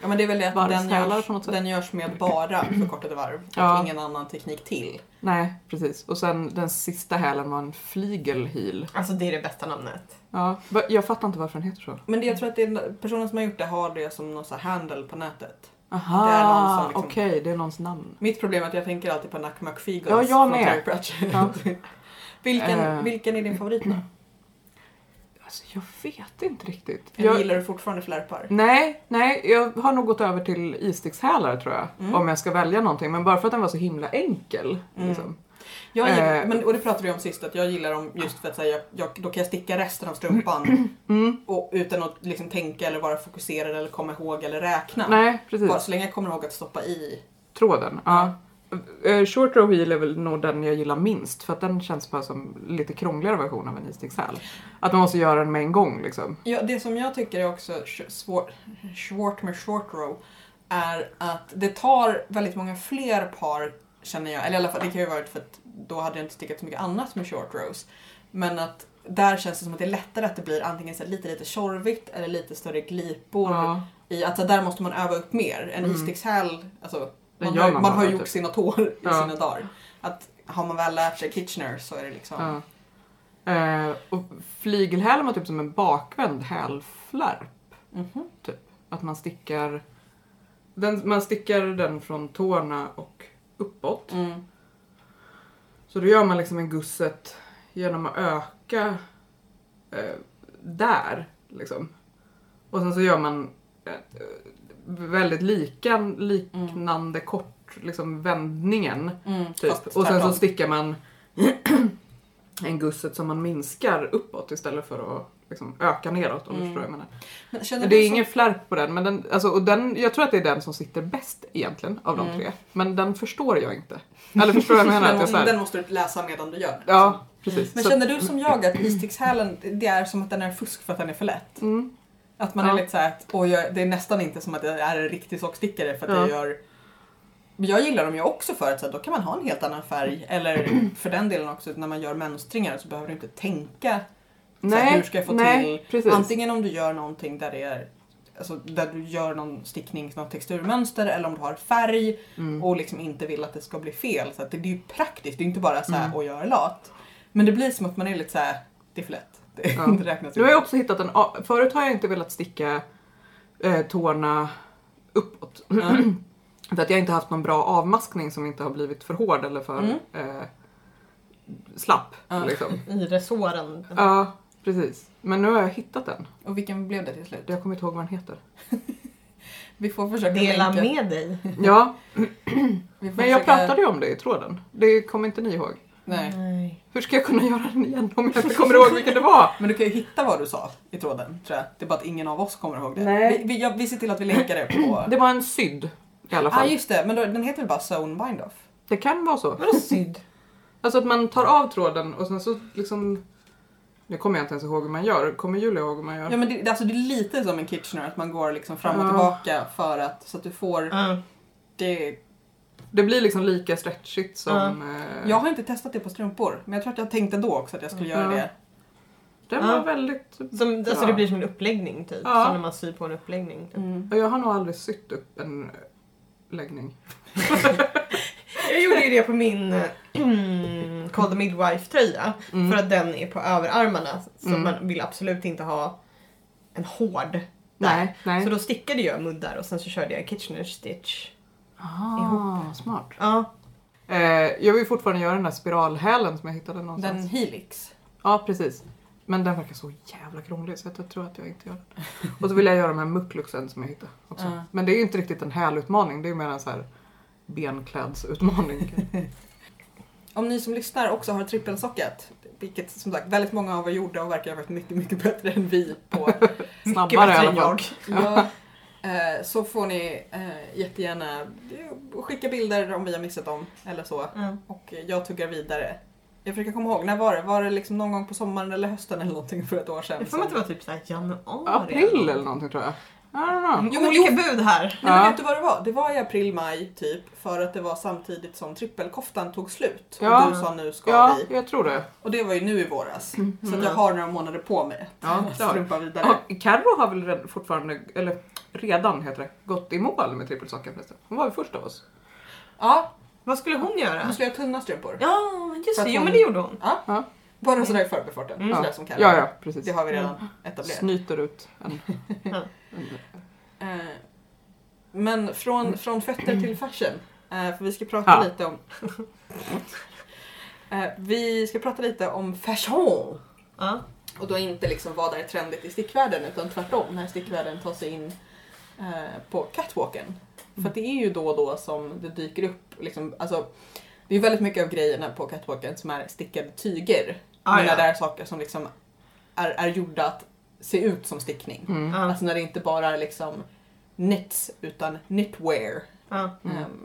[SPEAKER 1] Ja men det är väl det att den
[SPEAKER 2] Varvshälar
[SPEAKER 1] görs,
[SPEAKER 2] på något sätt.
[SPEAKER 1] den görs med bara förkortade varv och
[SPEAKER 2] Ja.
[SPEAKER 1] ingen annan teknik till.
[SPEAKER 2] Nej, precis. Och sen den sista hälen var en flygel heel.
[SPEAKER 3] Alltså det är det bästa namnet.
[SPEAKER 2] Ja, va- jag fattar inte varför den heter så.
[SPEAKER 1] Men det, jag tror att det är, personen som har gjort det har det som någon sån här handle på nätet.
[SPEAKER 2] Aha,
[SPEAKER 1] Det är någon som liksom-
[SPEAKER 2] okej, det är någons namn.
[SPEAKER 1] Mitt problem är att jag tänker alltid på Nack McFeagles
[SPEAKER 2] Ja, jag
[SPEAKER 1] från
[SPEAKER 2] med.
[SPEAKER 1] Terry Pratchett.
[SPEAKER 2] Ja.
[SPEAKER 1] vilken,
[SPEAKER 2] Eh.
[SPEAKER 1] vilken är din favorit då?
[SPEAKER 2] Alltså, jag vet inte riktigt.
[SPEAKER 1] Eller
[SPEAKER 2] Jag,
[SPEAKER 1] gillar du fortfarande flärpar?
[SPEAKER 2] nej, nej, jag har nog gått över till isstickshälar tror jag.
[SPEAKER 1] Mm.
[SPEAKER 2] Om jag ska välja någonting. Men bara för att den var så himla enkel.
[SPEAKER 1] Mm.
[SPEAKER 2] Liksom.
[SPEAKER 1] Jag gillar,
[SPEAKER 2] Eh.
[SPEAKER 1] men, och det pratade vi om sist, att jag gillar dem just för att så här, jag, jag, då kan jag sticka resten av strumpan
[SPEAKER 2] Mm.
[SPEAKER 1] och, utan att liksom, tänka eller vara fokuserad eller komma ihåg eller räkna.
[SPEAKER 2] Nej,
[SPEAKER 1] Bara
[SPEAKER 2] precis.
[SPEAKER 1] så länge jag kommer ihåg att stoppa i.
[SPEAKER 2] Tråden. Ja. Eh, Short row heel är väl nog den jag gillar minst för att den känns bara som lite krångligare version av en isstickshäl. Att man måste göra den med en gång liksom.
[SPEAKER 1] Ja, det som jag tycker är också sh- svårt, svårt med short row är att det tar väldigt många fler par känner jag, eller i alla fall det kan ju vara för att då hade jag inte stickat så mycket annat med short rows. Men att där känns det som att det är lättare att det blir antingen så här lite lite tjorvigt eller lite större glipor.
[SPEAKER 2] Ja.
[SPEAKER 1] i att så där måste man öva upp mer. En
[SPEAKER 2] Mm.
[SPEAKER 1] isstickshäl, alltså,
[SPEAKER 2] Den
[SPEAKER 1] man,
[SPEAKER 2] gör
[SPEAKER 1] har,
[SPEAKER 2] man
[SPEAKER 1] man har
[SPEAKER 2] bara,
[SPEAKER 1] gjort
[SPEAKER 2] typ.
[SPEAKER 1] sina tår i
[SPEAKER 2] Ja.
[SPEAKER 1] sina dagar. Att har man väl lärt sig Kitchener så är det liksom...
[SPEAKER 2] Ja. Eh, och flygelhälen var typ som en bakvänd hälflärp.
[SPEAKER 1] Mhm.
[SPEAKER 2] Att man stickar den, man stickar den från tårna och uppåt.
[SPEAKER 1] Mm.
[SPEAKER 2] Så då gör man liksom en gusset genom att öka eh, där. Liksom. Och sen så gör man ett, eh, väldigt likan, liknande kort liksom, vändningen.
[SPEAKER 1] Mm.
[SPEAKER 2] Typ.
[SPEAKER 1] Fast
[SPEAKER 2] Och sen så
[SPEAKER 1] tvärtom.
[SPEAKER 2] stickar man en gusset som man minskar uppåt istället för att liksom, öka neråt. Om du
[SPEAKER 1] Mm.
[SPEAKER 2] förstår vad jag menar.
[SPEAKER 1] Men känner
[SPEAKER 2] Det
[SPEAKER 1] du
[SPEAKER 2] är
[SPEAKER 1] så-
[SPEAKER 2] ingen flärp på den, men den, alltså, och den, jag tror att det är den som sitter bäst egentligen av de
[SPEAKER 1] Mm.
[SPEAKER 2] tre. Men den förstår jag inte. Eller förstår vad jag menar? Att jag,
[SPEAKER 1] den,
[SPEAKER 2] så här,
[SPEAKER 1] den måste du läsa medan du gör.
[SPEAKER 2] ja, precis.
[SPEAKER 1] Men
[SPEAKER 2] Så-
[SPEAKER 1] känner du som jag att isstickshälen, det är som att den är fusk för att den är för lätt?
[SPEAKER 2] Mm.
[SPEAKER 1] Att man
[SPEAKER 2] Ja.
[SPEAKER 1] är lite såhär att "Oj, jag, det är nästan inte som att jag är en riktig sockstickare för att
[SPEAKER 2] Ja.
[SPEAKER 1] jag gör Men jag gillar dem ju också för att så här, då kan man ha en helt annan färg eller för den delen också när man gör mönstringar så behöver du inte tänka så här, hur ska jag få
[SPEAKER 2] nej,
[SPEAKER 1] till
[SPEAKER 2] Precis.
[SPEAKER 1] antingen om du gör någonting där det är Alltså där du gör någon stickning, något texturmönster eller om du har färg
[SPEAKER 2] Mm.
[SPEAKER 1] och liksom inte vill att det ska bli fel. Så att det, det är ju praktiskt, det är inte bara så här
[SPEAKER 2] Mm.
[SPEAKER 1] och jag är lat. Men det blir som att man är lite så här, det är för lätt. Det,
[SPEAKER 2] Ja.
[SPEAKER 1] det räknas
[SPEAKER 2] Nu har
[SPEAKER 1] inte.
[SPEAKER 2] jag också hittat en... a- Förut har jag inte velat sticka eh, tårna uppåt. Eh,
[SPEAKER 1] Ja.
[SPEAKER 2] För att jag inte haft någon bra avmaskning som inte har blivit för hård eller för
[SPEAKER 1] Mm.
[SPEAKER 2] eh, slapp.
[SPEAKER 1] Ja.
[SPEAKER 2] Liksom.
[SPEAKER 3] I resåren.
[SPEAKER 2] Ja, precis. Men nu har jag hittat den.
[SPEAKER 1] Och vilken blev det till slut?
[SPEAKER 2] Jag kommer inte ihåg vad den heter.
[SPEAKER 1] Vi får försöka
[SPEAKER 3] Dela
[SPEAKER 1] länka.
[SPEAKER 3] med dig.
[SPEAKER 2] Ja,
[SPEAKER 1] Vi får
[SPEAKER 2] men jag
[SPEAKER 1] försöka-
[SPEAKER 2] pratade ju om det i tråden. Det kommer inte ni ihåg.
[SPEAKER 1] Nej.
[SPEAKER 2] Hur ska jag kunna göra den igen om jag inte kommer ihåg vilken det var?
[SPEAKER 1] Men du kan ju hitta vad du sa i tråden tror jag. Det är bara att ingen av oss kommer ihåg det.
[SPEAKER 2] Nej.
[SPEAKER 1] Vi, vi, ja, vi ser till att vi länkar det på...
[SPEAKER 2] Det var en sydd i alla
[SPEAKER 1] Ja ah,
[SPEAKER 2] fall.
[SPEAKER 1] just det, men då, den heter väl bara Zone Bind Off?
[SPEAKER 2] Det kan vara så.
[SPEAKER 3] Vadå sydd?
[SPEAKER 2] Alltså att man tar av tråden och sen så liksom... Nu kommer jag inte ens ihåg hur man gör. Kommer Julia ihåg hur man gör?
[SPEAKER 1] Ja men det, det- alltså, det är lite som en Kitchener att man går liksom fram och
[SPEAKER 2] Ja.
[SPEAKER 1] tillbaka för att så att du får
[SPEAKER 3] Ja.
[SPEAKER 1] det.
[SPEAKER 2] Det blir liksom lika stretchigt som... eh,
[SPEAKER 1] Jag har inte testat det på strumpor men jag tror att jag tänkte då också att jag skulle göra
[SPEAKER 2] Ja.
[SPEAKER 1] det.
[SPEAKER 2] Den
[SPEAKER 3] Ja.
[SPEAKER 2] var väldigt...
[SPEAKER 3] Som, alltså
[SPEAKER 2] Ja.
[SPEAKER 3] det blir som en uppläggning typ.
[SPEAKER 2] Ja.
[SPEAKER 3] Som när man syr på en uppläggning. Typ.
[SPEAKER 2] Och jag har nog aldrig sytt upp en läggning.
[SPEAKER 3] Jag gjorde ju det på min eh, Call the Midwife tröja.
[SPEAKER 2] Mm.
[SPEAKER 3] För att den är på överarmarna. Så
[SPEAKER 2] Mm.
[SPEAKER 3] man vill absolut inte ha en hård.
[SPEAKER 2] Nej, nej.
[SPEAKER 3] Så då stickade jag muddar och sen så körde jag Kitchener stitch.
[SPEAKER 2] ah, smart.
[SPEAKER 3] Ja.
[SPEAKER 2] Eh, jag vill fortfarande göra den där spiralhälen som jag hittade någonstans.
[SPEAKER 1] Den Helix.
[SPEAKER 2] Ja, precis. Men den verkar så jävla krånglig så att jag tror att jag inte gör den. Och så vill jag göra de här muckluxen som jag hittade också.
[SPEAKER 1] Ja.
[SPEAKER 2] Men det är ju inte riktigt en hälutmaning, det är ju mer en så här benklädsutmaning.
[SPEAKER 1] Om ni som lyssnar också har trippelsockat vilket som sagt väldigt många av er gjorde och verkar ha varit mycket, mycket bättre än vi på mycket
[SPEAKER 2] Snabbare i
[SPEAKER 1] bättre
[SPEAKER 2] alla
[SPEAKER 1] än
[SPEAKER 2] fall.
[SPEAKER 1] jag. Ja. Eh, Så får ni eh, jättegärna eh, skicka bilder om vi har missat dem eller så.
[SPEAKER 3] Mm.
[SPEAKER 1] Och jag tuggar vidare. Jag försöker komma ihåg, när var det? Var det liksom någon gång på sommaren eller hösten eller någonting för ett år sedan?
[SPEAKER 3] Jag får mig att det var typ såhär januari.
[SPEAKER 2] April eller någonting tror jag. I don't know.
[SPEAKER 3] Jo,
[SPEAKER 1] men
[SPEAKER 3] olika bud här.
[SPEAKER 1] Nej, men
[SPEAKER 2] Ja.
[SPEAKER 1] vet du vad det var? Det var i april, maj typ för att det var samtidigt som trippelkoftan tog slut.
[SPEAKER 2] Ja.
[SPEAKER 1] Och du sa nu ska
[SPEAKER 2] Ja,
[SPEAKER 1] vi.
[SPEAKER 2] jag tror det.
[SPEAKER 1] Och det var ju nu i våras. Så att jag
[SPEAKER 3] Mm.
[SPEAKER 1] har några månader på mig
[SPEAKER 2] Ja,
[SPEAKER 1] att
[SPEAKER 2] det har du.
[SPEAKER 1] strumpa vidare.
[SPEAKER 2] Ja, Carro har väl redan, fortfarande, eller redan heter det, gått i mål med trippelsaken förresten. Hon var ju först av oss.
[SPEAKER 1] Ja,
[SPEAKER 3] Vad skulle hon göra?
[SPEAKER 1] nu ska jag ha tunna strumpor.
[SPEAKER 3] Ja, just
[SPEAKER 1] För
[SPEAKER 3] det.
[SPEAKER 1] att
[SPEAKER 3] Jo,
[SPEAKER 1] hon-
[SPEAKER 3] men det gjorde hon.
[SPEAKER 1] Bara sådär i förbifarten.
[SPEAKER 3] Mm.
[SPEAKER 1] Sådär
[SPEAKER 2] Ja.
[SPEAKER 1] som Kalle.
[SPEAKER 2] Ja, ja, Mm. precis.
[SPEAKER 1] Det har vi redan etablerat.
[SPEAKER 2] Snyter ut en.
[SPEAKER 3] Ja.
[SPEAKER 2] en
[SPEAKER 1] Eh, Men från, från fötter till fashion. Eh, För vi ska prata
[SPEAKER 2] Ja.
[SPEAKER 1] lite om... Eh, vi ska prata lite om fashion.
[SPEAKER 3] Ja.
[SPEAKER 1] Och då inte liksom vad är trendigt i stickvärlden utan tvärtom när stickvärlden tar sig in eh, på catwalken.
[SPEAKER 3] Mm.
[SPEAKER 1] För att det är ju då och då som det dyker upp. Liksom, alltså, det är ju väldigt mycket av grejerna på catwalken som är stickade tyger.
[SPEAKER 3] Ah,
[SPEAKER 1] men
[SPEAKER 3] ja.
[SPEAKER 1] när det är saker som liksom är, är gjorda att se ut som stickning.
[SPEAKER 2] Mm.
[SPEAKER 3] Ja.
[SPEAKER 1] Alltså när det inte bara är liksom knits utan knitwear.
[SPEAKER 3] Ja.
[SPEAKER 2] Mm.
[SPEAKER 1] Ehm,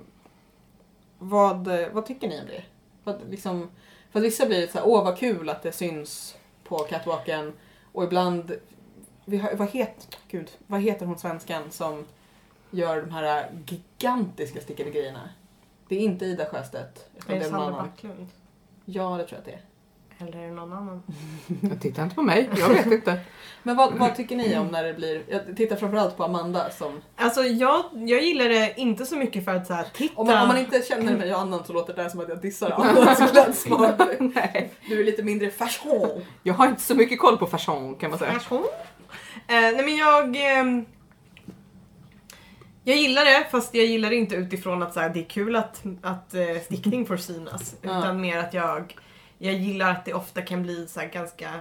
[SPEAKER 1] vad, vad tycker ni om det? Vad, liksom, för att vissa blir så här, åh vad kul att det syns på catwalken och ibland, vi har, vad, het, gud, vad heter hon svenskan som gör de här gigantiska stickade grejerna? Det är inte Ida Sjöstedt.
[SPEAKER 3] Det
[SPEAKER 1] Utan det
[SPEAKER 3] är
[SPEAKER 1] är någon
[SPEAKER 3] Sandra
[SPEAKER 1] annan.
[SPEAKER 3] Backlund.
[SPEAKER 1] Ja, det tror jag att det är.
[SPEAKER 3] Eller är det någon annan?
[SPEAKER 2] Titta inte på mig, jag vet inte.
[SPEAKER 1] Men vad, vad tycker ni om när det blir, jag tittar framförallt på Amanda som
[SPEAKER 3] Alltså jag, jag gillar det inte så mycket för att så här, titta.
[SPEAKER 1] Om man, om man inte känner mig och annan så låter det där som att jag dissar annans klädsmak.
[SPEAKER 2] Nej,
[SPEAKER 1] Du är lite mindre fashion.
[SPEAKER 2] jag har inte så mycket koll på fashion kan man säga.
[SPEAKER 3] Kanske hon? Eh, nej men jag... ehm, jag gillar det fast jag gillar det inte utifrån att så här, det är kul att, att eh, stickning får synas.
[SPEAKER 1] Ja.
[SPEAKER 3] Utan mer att jag, jag gillar att det ofta kan bli så här, ganska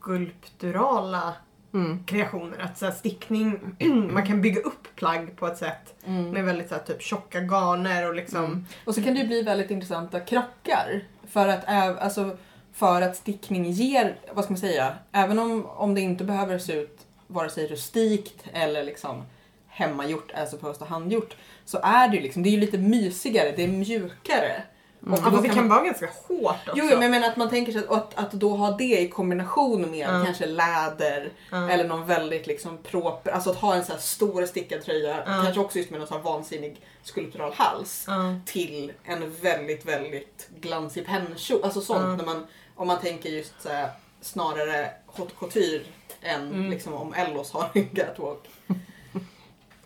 [SPEAKER 3] skulpturala
[SPEAKER 2] Mm.
[SPEAKER 3] kreationer. Att så här, stickning,
[SPEAKER 1] Mm.
[SPEAKER 3] man kan bygga upp plagg på ett sätt med väldigt så här, typ, tjocka garner och liksom
[SPEAKER 1] Och så kan det ju bli väldigt intressanta krockar. För att, äv- alltså, för att stickning ger, vad ska man säga, även om, om det inte behöver se ut vare sig rustikt eller liksom hemmagjort, as opposed to handgjort, så är det ju liksom, det är ju lite mysigare, det är mjukare. Och
[SPEAKER 3] Mm.
[SPEAKER 1] då
[SPEAKER 3] Ja, fast det
[SPEAKER 1] Alltså, kan
[SPEAKER 3] kan vara ganska hårt också.
[SPEAKER 1] Jo, jo, men jag menar att man tänker sig att, att, att då ha det i kombination med
[SPEAKER 3] Ja.
[SPEAKER 1] kanske läder
[SPEAKER 3] Ja.
[SPEAKER 1] eller någon väldigt liksom proper, alltså att ha en så här stor stickad tröja,
[SPEAKER 3] Ja.
[SPEAKER 1] kanske också just med någon så här vansinnig skulptural hals
[SPEAKER 3] Ja.
[SPEAKER 1] till en väldigt, väldigt glansig pennkjol. Alltså sånt
[SPEAKER 3] Ja.
[SPEAKER 1] när man, om man tänker just så här, snarare haute couture än
[SPEAKER 3] Mm.
[SPEAKER 1] liksom om Ellos har en catwalk.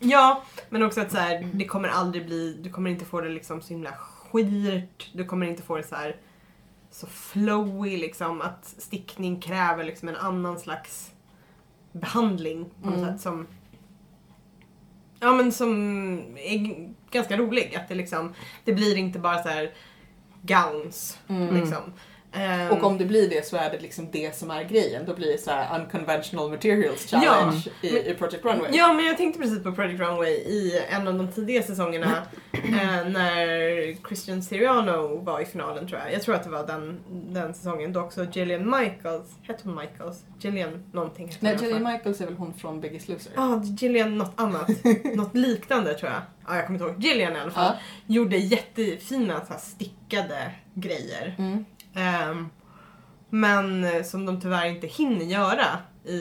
[SPEAKER 3] Ja, men också att så här, det kommer aldrig bli, du kommer inte få det liksom så himla skirt, du kommer inte få det så här så flowy liksom, att stickning kräver liksom en annan slags behandling på något
[SPEAKER 1] Mm.
[SPEAKER 3] sätt som Ja men som är g- ganska rolig, att det liksom, det blir inte bara så här gowns liksom. Ehm,
[SPEAKER 1] Mm. Och om det blir det så är det liksom det som är grejen. Då blir det så här unconventional materials
[SPEAKER 3] Ja.
[SPEAKER 1] challenge i, i Project Runway.
[SPEAKER 3] Ja, men jag tänkte precis på Project Runway i en av de tidiga säsongerna eh, när Christian Siriano var i finalen tror jag. Jag tror att det var den, den säsongen då också Gillian Michaels, hette hon Michaels? Gillian någonting hette
[SPEAKER 1] Nej,
[SPEAKER 3] hon i alla
[SPEAKER 1] Jenny
[SPEAKER 3] fall.
[SPEAKER 1] Michaels är väl hon från Biggest Loser?
[SPEAKER 3] Ja, Gillian något annat. något liknande tror jag. Ja, jag kommer inte ihåg. Gillian i alla fall.
[SPEAKER 1] Ja.
[SPEAKER 3] Gjorde jättefina så här, stickade grejer.
[SPEAKER 1] Mm.
[SPEAKER 3] Ehm, men eh, som de tyvärr inte hinner göra i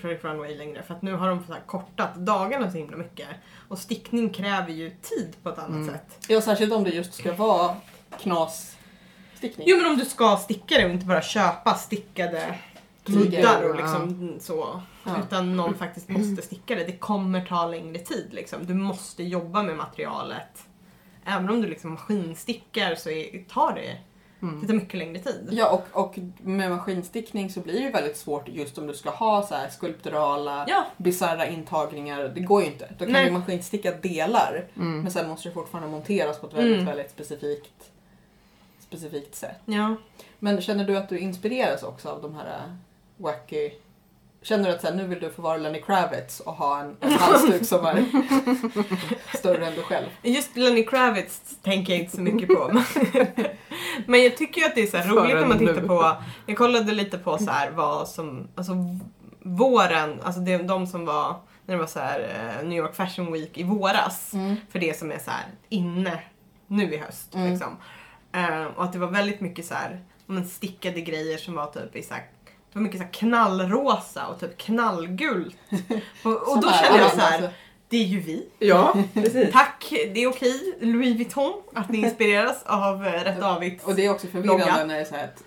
[SPEAKER 3] Project Runway längre för att nu har de så här kortat dagarna så himla mycket. Och stickning kräver ju tid på ett annat
[SPEAKER 1] Mm.
[SPEAKER 3] sätt.
[SPEAKER 1] Ja, särskilt om det just ska vara knasstickning.
[SPEAKER 3] Jo men om du ska sticka det och inte bara köpa stickade
[SPEAKER 1] Tyger,
[SPEAKER 3] muddar
[SPEAKER 2] ja.
[SPEAKER 3] och liksom så.
[SPEAKER 1] Ja.
[SPEAKER 3] Utan någon faktiskt måste sticka det. Det kommer ta längre tid liksom. Du måste jobba med materialet. Även om du liksom maskinstickar så är, tar det,
[SPEAKER 2] Mm.
[SPEAKER 3] det tar mycket längre tid.
[SPEAKER 1] Ja, och, och med maskinstickning så blir det ju väldigt svårt just om du ska ha så här skulpturala,
[SPEAKER 3] Ja.
[SPEAKER 1] bisarra intagningar. Det går ju inte. Då kan
[SPEAKER 3] Nej.
[SPEAKER 1] du maskinsticka delar,
[SPEAKER 2] Mm.
[SPEAKER 1] men sen måste det fortfarande monteras på ett väldigt,
[SPEAKER 3] Mm.
[SPEAKER 1] väldigt specifikt, specifikt sätt.
[SPEAKER 3] Ja.
[SPEAKER 1] Men känner du att du inspireras också av de här äh, wacky... Känner du att så här, nu vill du få vara Lenny Kravitz och ha en, en halsduk som är större än du själv?
[SPEAKER 3] Just Lenny Kravitz tänker jag inte så mycket på. men- Men jag tycker ju att det är så här roligt när man
[SPEAKER 2] Förrän
[SPEAKER 3] tittar
[SPEAKER 2] nu.
[SPEAKER 3] på, jag kollade lite på så här vad som, alltså våren, alltså de, de som var, när det var så här eh, New York Fashion Week i våras, för det som är så här inne nu i höst
[SPEAKER 1] Mm.
[SPEAKER 3] liksom. Eh, och att det var väldigt mycket så här, men stickade grejer som var typ i så här, det var mycket så här knallrosa och typ knallgult. Och, och
[SPEAKER 1] Som
[SPEAKER 3] då
[SPEAKER 1] är
[SPEAKER 3] kände
[SPEAKER 1] alla,
[SPEAKER 3] jag så här,
[SPEAKER 1] alltså.
[SPEAKER 3] det är ju vi.
[SPEAKER 2] Ja,
[SPEAKER 3] Tack, det är okej. Louis Vuitton, att ni inspireras av eh, Rätt Avigt.
[SPEAKER 1] Och det är också förvirrande
[SPEAKER 3] Långa.
[SPEAKER 1] när det är så här att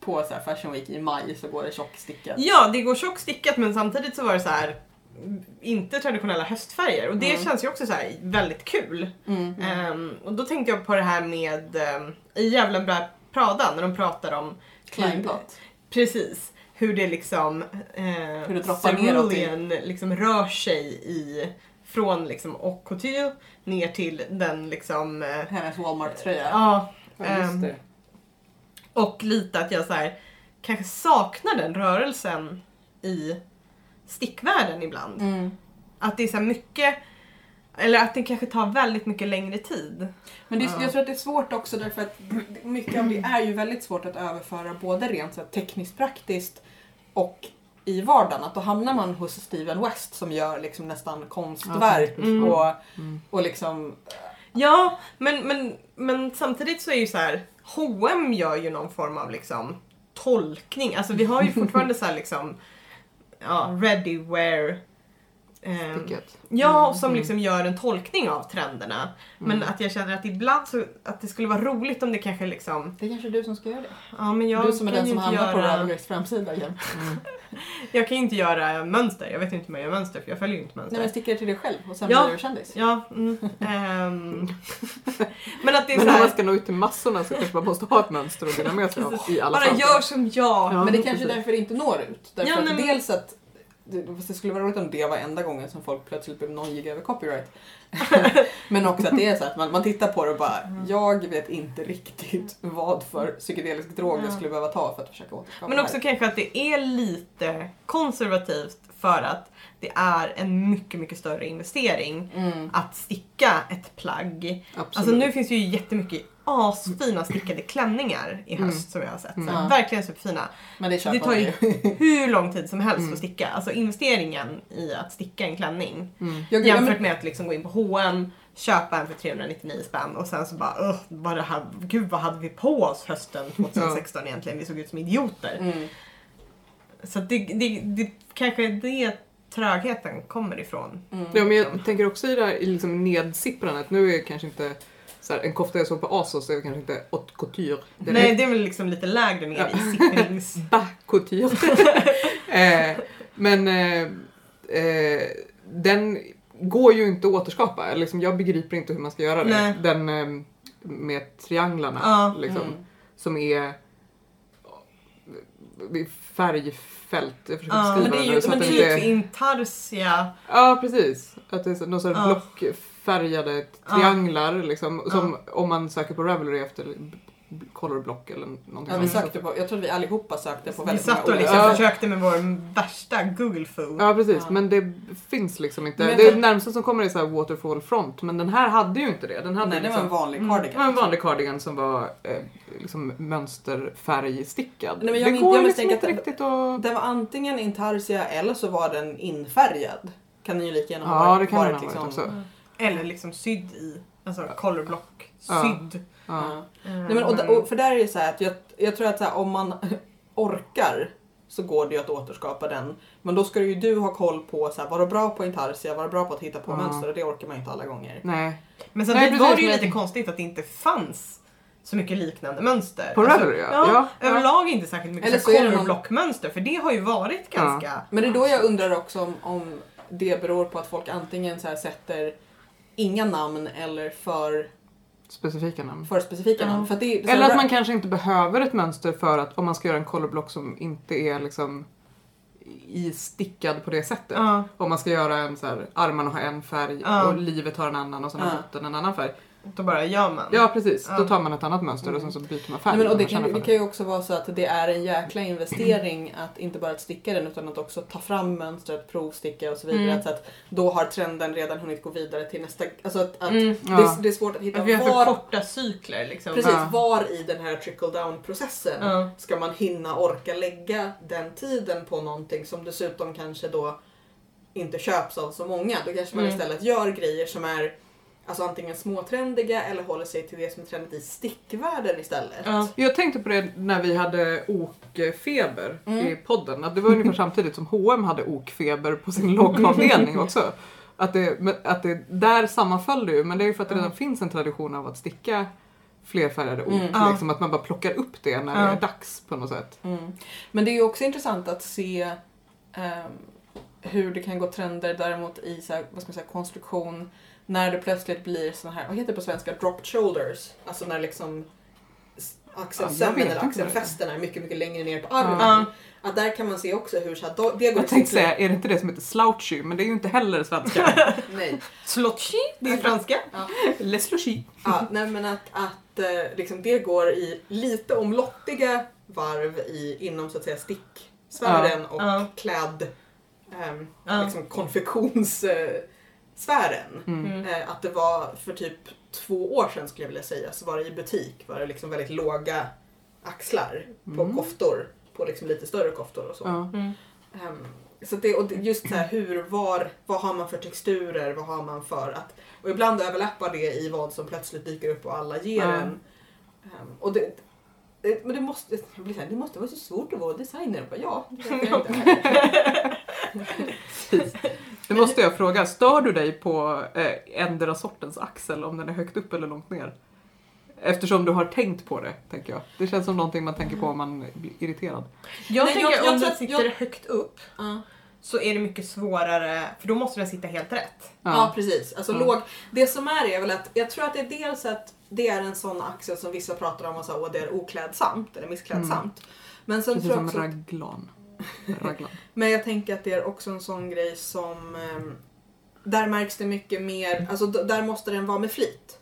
[SPEAKER 1] på så här Fashion Week i maj så går det tjockstickat.
[SPEAKER 3] Ja, det går tjockstickat men samtidigt så var det så här mm, inte traditionella höstfärger och det
[SPEAKER 1] Mm.
[SPEAKER 3] känns ju också så här väldigt kul.
[SPEAKER 1] Mm.
[SPEAKER 3] Ehm, och då tänkte jag på det här med ehm, i Djävulen bär Prada när de pratar om
[SPEAKER 1] Kleinblått.
[SPEAKER 3] Precis. Hur det liksom... Eh,
[SPEAKER 1] Hur det droppar neråt i-
[SPEAKER 3] cerulean liksom rör sig i... Från liksom och couture ner till den liksom... Eh,
[SPEAKER 1] Hennes Walmart-tröja.
[SPEAKER 3] ja.
[SPEAKER 2] ja just det.
[SPEAKER 3] Och lite att jag så här, kanske saknar den rörelsen i stickvärlden ibland.
[SPEAKER 1] Mm.
[SPEAKER 3] Att det är så här mycket... Eller att det kanske tar väldigt mycket längre tid.
[SPEAKER 1] Men det,
[SPEAKER 3] Ja.
[SPEAKER 1] jag tror att det är svårt också därför att mycket av det är ju väldigt svårt att överföra både rent så här, tekniskt praktiskt och i vardagen. Att då hamnar man hos Steven West som gör liksom nästan konstverk
[SPEAKER 3] Mm.
[SPEAKER 1] och,
[SPEAKER 2] Mm.
[SPEAKER 1] och liksom...
[SPEAKER 3] Ja, men, men, men samtidigt så är ju så här, H&M gör ju någon form av liksom tolkning. Alltså vi har ju fortfarande så här liksom ja, ready wear. ehm,
[SPEAKER 2] Sticket.
[SPEAKER 3] ja, som liksom gör en tolkning av trenderna. Men
[SPEAKER 2] Mm.
[SPEAKER 3] att jag känner att ibland så, att det skulle vara roligt om det kanske liksom,
[SPEAKER 1] Det är kanske du som ska göra det?
[SPEAKER 3] ja men jag
[SPEAKER 1] du som är
[SPEAKER 3] kan
[SPEAKER 1] den som
[SPEAKER 3] ju inte
[SPEAKER 1] hamnar på
[SPEAKER 3] göra,
[SPEAKER 1] Ravelrys framsida igen.
[SPEAKER 3] jag kan ju inte göra mönster. Jag vet ju inte hur man gör mönster för jag följer ju inte mönster.
[SPEAKER 1] Nej men sticker till dig själv och sen
[SPEAKER 3] Ja.
[SPEAKER 1] blir du kändis.
[SPEAKER 3] Ja, mm, ehm. men att det är så
[SPEAKER 2] Men om
[SPEAKER 3] här,
[SPEAKER 2] man ska nå ut till massorna så kanske man måste ha ett mönster att dela med sig av i alla
[SPEAKER 3] bara
[SPEAKER 2] fall.
[SPEAKER 3] gör som
[SPEAKER 2] Ja,
[SPEAKER 3] jag.
[SPEAKER 1] Men det är
[SPEAKER 2] precis.
[SPEAKER 1] kanske är därför det inte når ut. Därför
[SPEAKER 3] Ja,
[SPEAKER 1] att
[SPEAKER 3] nej, men-
[SPEAKER 1] dels att det fast det skulle vara roligt om det var enda gången som folk plötsligt blev nojiga över copyright. Men också att det är så att man, man tittar på det och bara,
[SPEAKER 3] Mm.
[SPEAKER 1] jag vet inte riktigt vad för psykedelisk drog jag
[SPEAKER 3] Ja.
[SPEAKER 1] skulle behöva ta för att försöka återskapa
[SPEAKER 3] Men
[SPEAKER 1] det
[SPEAKER 3] också
[SPEAKER 1] här.
[SPEAKER 3] kanske att det är lite konservativt för att det är en mycket, mycket större investering
[SPEAKER 1] Mm.
[SPEAKER 3] att sticka ett plagg.
[SPEAKER 2] Absolut.
[SPEAKER 3] Alltså nu finns det ju jättemycket asfina stickade klänningar i höst som jag har sett. Så här,
[SPEAKER 1] Ja.
[SPEAKER 3] Verkligen superfina.
[SPEAKER 1] Men det
[SPEAKER 3] Det
[SPEAKER 1] köper
[SPEAKER 3] tar
[SPEAKER 1] man
[SPEAKER 3] ju
[SPEAKER 1] ju.
[SPEAKER 3] hur lång tid som helst att sticka. Alltså investeringen i att sticka en klänning
[SPEAKER 2] Mm.
[SPEAKER 1] Jag, jag,
[SPEAKER 3] jämfört med att liksom gå in på H&M köpa en för 399 spänn och sen så bara, "Ugh, vad det här, gud vad hade vi på oss hösten 2016 egentligen? Vi såg ut som idioter.
[SPEAKER 1] mm.
[SPEAKER 3] Så att det, det, det kanske är det trögheten kommer ifrån.
[SPEAKER 2] Ja, men jag tänker också i det här i liksom nedsipprandet. Nu är kanske inte så här, en kofta jag såg på ASOS är kanske inte haute couture. Den
[SPEAKER 3] Nej,
[SPEAKER 2] är
[SPEAKER 3] det är väl liksom lite lägre ner
[SPEAKER 2] Ja.
[SPEAKER 3] i sittnings...
[SPEAKER 2] bas couture. eh, men eh, eh, den går ju inte att återskapa. Eller Liksom, jag begriper inte hur man ska göra det.
[SPEAKER 3] Nej.
[SPEAKER 2] Den eh, med trianglarna
[SPEAKER 3] Ja.
[SPEAKER 2] liksom,
[SPEAKER 1] Mm.
[SPEAKER 2] som är eh, färgfält. Jag försöker
[SPEAKER 3] Ja,
[SPEAKER 2] beskriva
[SPEAKER 3] men det är
[SPEAKER 2] nu
[SPEAKER 3] ju
[SPEAKER 2] så
[SPEAKER 3] men
[SPEAKER 2] att det
[SPEAKER 3] typ
[SPEAKER 2] inte är-
[SPEAKER 3] intarsia.
[SPEAKER 2] Ja, precis. Att det är så- någon sorts
[SPEAKER 3] Ja.
[SPEAKER 2] blockfärgade trianglar liksom. Som om man söker på Ravelry efter b- colorblock eller någonting
[SPEAKER 1] ja, vi
[SPEAKER 2] sånt.
[SPEAKER 1] sökte på, jag tror att vi allihopa sökte på
[SPEAKER 3] Mm. Vi
[SPEAKER 1] väldigt
[SPEAKER 3] satt och
[SPEAKER 1] olika
[SPEAKER 3] liksom
[SPEAKER 2] Ja.
[SPEAKER 1] saker.
[SPEAKER 3] försökte med vår värsta google foo.
[SPEAKER 2] Ja, precis.
[SPEAKER 1] Ja.
[SPEAKER 2] Men det finns liksom inte.
[SPEAKER 1] Men jag
[SPEAKER 2] det
[SPEAKER 1] tror-
[SPEAKER 2] närmsta som kommer är så här waterfall front. Men den här hade ju inte det. Den hade
[SPEAKER 1] Nej, det var
[SPEAKER 2] liksom,
[SPEAKER 1] en vanlig
[SPEAKER 3] Mm.
[SPEAKER 2] det
[SPEAKER 1] cardigan.
[SPEAKER 2] var en vanlig cardigan som var eh, liksom mönsterfärgstickad.
[SPEAKER 1] Nej, men jag
[SPEAKER 2] det
[SPEAKER 1] min-
[SPEAKER 2] går
[SPEAKER 1] jag
[SPEAKER 2] liksom
[SPEAKER 1] misstänker
[SPEAKER 2] inte
[SPEAKER 1] att-
[SPEAKER 2] riktigt att...
[SPEAKER 1] Den var antingen intarsia eller så var den infärgad. Kan den ju lika gärna ha
[SPEAKER 2] Ja,
[SPEAKER 1] varit-
[SPEAKER 2] det kan den
[SPEAKER 1] varit
[SPEAKER 2] ha varit
[SPEAKER 1] liksom-
[SPEAKER 2] också.
[SPEAKER 3] Eller liksom sydd i. Alltså colorblock
[SPEAKER 2] Ja.
[SPEAKER 3] sydd. Eh,
[SPEAKER 2] Ja.
[SPEAKER 1] Ja. Nej, men, och, och, för där är det så här att jag, jag tror att så här, om man orkar så går det ju att återskapa den. Men då ska ju du ha koll på så här, vara bra på intarsia, vara bra på att hitta på
[SPEAKER 2] Ja.
[SPEAKER 1] mönster och det orkar man ju inte alla gånger.
[SPEAKER 2] Nej.
[SPEAKER 3] Men
[SPEAKER 2] Nej,
[SPEAKER 3] samtidigt
[SPEAKER 2] precis,
[SPEAKER 3] var det ju
[SPEAKER 2] men-
[SPEAKER 3] lite konstigt att det inte fanns så mycket liknande mönster.
[SPEAKER 2] På Ravelry, ja.
[SPEAKER 3] ja,
[SPEAKER 2] Ja.
[SPEAKER 3] Överlag inte särskilt
[SPEAKER 1] Eller
[SPEAKER 3] mycket
[SPEAKER 1] så är det någon-
[SPEAKER 3] colorblock-mönster för det har ju varit
[SPEAKER 2] Ja.
[SPEAKER 3] ganska...
[SPEAKER 1] Men det är då jag undrar också om, om det beror på att folk antingen så här, sätter inga namn eller för,
[SPEAKER 2] Specifika namn.
[SPEAKER 1] för specifika
[SPEAKER 3] Ja.
[SPEAKER 1] namn. För att det, är- så
[SPEAKER 2] Eller
[SPEAKER 1] här-
[SPEAKER 2] att man kanske inte behöver ett mönster för att om man ska göra en colorblock som inte är liksom istickad på det sättet.
[SPEAKER 3] Ja.
[SPEAKER 2] Om man ska göra en så här, armarna har en färg
[SPEAKER 3] Ja.
[SPEAKER 2] och livet har en annan och sen har
[SPEAKER 1] Ja.
[SPEAKER 2] botten en annan färg.
[SPEAKER 3] Då bara gör man.
[SPEAKER 2] Ja precis, då
[SPEAKER 3] Ja.
[SPEAKER 2] tar man ett annat mönster och
[SPEAKER 1] Mm.
[SPEAKER 2] sen så byter man färg.
[SPEAKER 1] Nej, men,
[SPEAKER 2] när
[SPEAKER 1] och det,
[SPEAKER 2] man
[SPEAKER 1] kan,
[SPEAKER 2] känner
[SPEAKER 1] det
[SPEAKER 2] för
[SPEAKER 1] kan ju också vara så att det är en jäkla investering att inte bara att sticka den utan att också ta fram mönstret, provsticka och så vidare.
[SPEAKER 3] Mm.
[SPEAKER 1] Så att då har trenden redan hunnit gå vidare till nästa. Alltså att, att
[SPEAKER 3] Mm.
[SPEAKER 1] det,
[SPEAKER 2] Ja.
[SPEAKER 1] är, det är svårt att hitta
[SPEAKER 3] Att vi har för
[SPEAKER 1] var,
[SPEAKER 3] korta cykler liksom.
[SPEAKER 1] precis,
[SPEAKER 2] Ja.
[SPEAKER 1] var i den här trickle down processen
[SPEAKER 3] Ja.
[SPEAKER 1] ska man hinna orka lägga den tiden på någonting som dessutom kanske då inte köps av så många. Då kanske man
[SPEAKER 3] Mm.
[SPEAKER 1] istället gör grejer som är alltså antingen småtrendiga eller håller sig till det som är trendigt i stickvärlden istället.
[SPEAKER 3] Ja.
[SPEAKER 2] Jag tänkte på det när vi hade okfeber
[SPEAKER 1] Mm.
[SPEAKER 2] i podden. Att det var ungefär samtidigt som H&M hade okfeber på sin loggavdelning också. Att det, men- att det där sammanföll det ju, men det är ju för att det redan finns en tradition av att sticka flerfärgade ok.
[SPEAKER 1] Mm.
[SPEAKER 3] Ja.
[SPEAKER 2] Liksom att man bara plockar upp det när det
[SPEAKER 3] Ja.
[SPEAKER 2] är dags på något sätt.
[SPEAKER 1] Mm. Men det är ju också intressant att se ehm, hur det kan gå trender däremot i så här, vad ska man säga, konstruktion när det plötsligt blir såna här, vad heter det på svenska, dropped shoulders. Alltså när liksom s-
[SPEAKER 2] Ja, jag vet
[SPEAKER 1] axelsämmen eller
[SPEAKER 2] inte vad det är.
[SPEAKER 1] axelfästen är mycket, mycket längre ner på armen.
[SPEAKER 3] Ja.
[SPEAKER 1] Att där kan man se också hur så här, då- det går
[SPEAKER 2] Jag tänkte säga, är det inte det som heter slouchy? Men det är ju inte heller svenska.
[SPEAKER 1] Nej.
[SPEAKER 3] Slotchi, det är franska.
[SPEAKER 1] Ja.
[SPEAKER 2] Les slouchy.
[SPEAKER 1] Ja, nej men att, att eh, liksom det går i lite omlottiga varv i, inom så att säga sticksfären och
[SPEAKER 3] Ja.
[SPEAKER 1] klädd ehm,
[SPEAKER 3] Ja.
[SPEAKER 1] liksom konfektionssfären.
[SPEAKER 2] Mm.
[SPEAKER 3] Mm.
[SPEAKER 1] Eh, att det var för typ två år sedan skulle jag vilja säga så var det i butik var det liksom väldigt låga axlar på
[SPEAKER 2] Mm.
[SPEAKER 1] koftor. På liksom lite större koftor och så.
[SPEAKER 2] Ja.
[SPEAKER 3] Mm.
[SPEAKER 1] Ehm, så att det, och det- just så här, hur, var, vad har man för texturer, vad har man för att... Och ibland överlappar det i vad som plötsligt dyker upp och alla ger
[SPEAKER 2] Ja.
[SPEAKER 1] en. Ehm, och det, det, men det måste, jag blir så här, det måste vara så svårt att vara designer. Jag Bara, ja, det vet jag inte.
[SPEAKER 2] Nu måste jag fråga, stör du dig på eh, ändra sortens axel om den är högt upp eller långt ner? Eftersom du har tänkt på det, tänker jag. Det känns som någonting man tänker på om man blir irriterad.
[SPEAKER 3] Jag
[SPEAKER 1] Nej,
[SPEAKER 3] tänker
[SPEAKER 1] jag- jag
[SPEAKER 3] om
[SPEAKER 1] tror
[SPEAKER 3] den
[SPEAKER 1] att-
[SPEAKER 3] sitter
[SPEAKER 1] jag-
[SPEAKER 3] högt upp
[SPEAKER 1] Ja.
[SPEAKER 3] så är det mycket svårare, för då måste den sitta helt rätt.
[SPEAKER 1] Ja.
[SPEAKER 2] Ja.
[SPEAKER 1] precis. Alltså,
[SPEAKER 2] Mm.
[SPEAKER 1] låg, det som är är väl att jag tror att det är dels att det är en sån axel som vissa pratar om och så, här, "Åh, det är oklädsamt eller missklädsamt. Men sen
[SPEAKER 2] Mm. Precis
[SPEAKER 1] tror jag också
[SPEAKER 2] som
[SPEAKER 1] att
[SPEAKER 2] raglan. raglan.
[SPEAKER 1] Men jag tänker att det är också en sån grej som ehm, där märks det mycket mer, alltså d- där måste den vara med flit.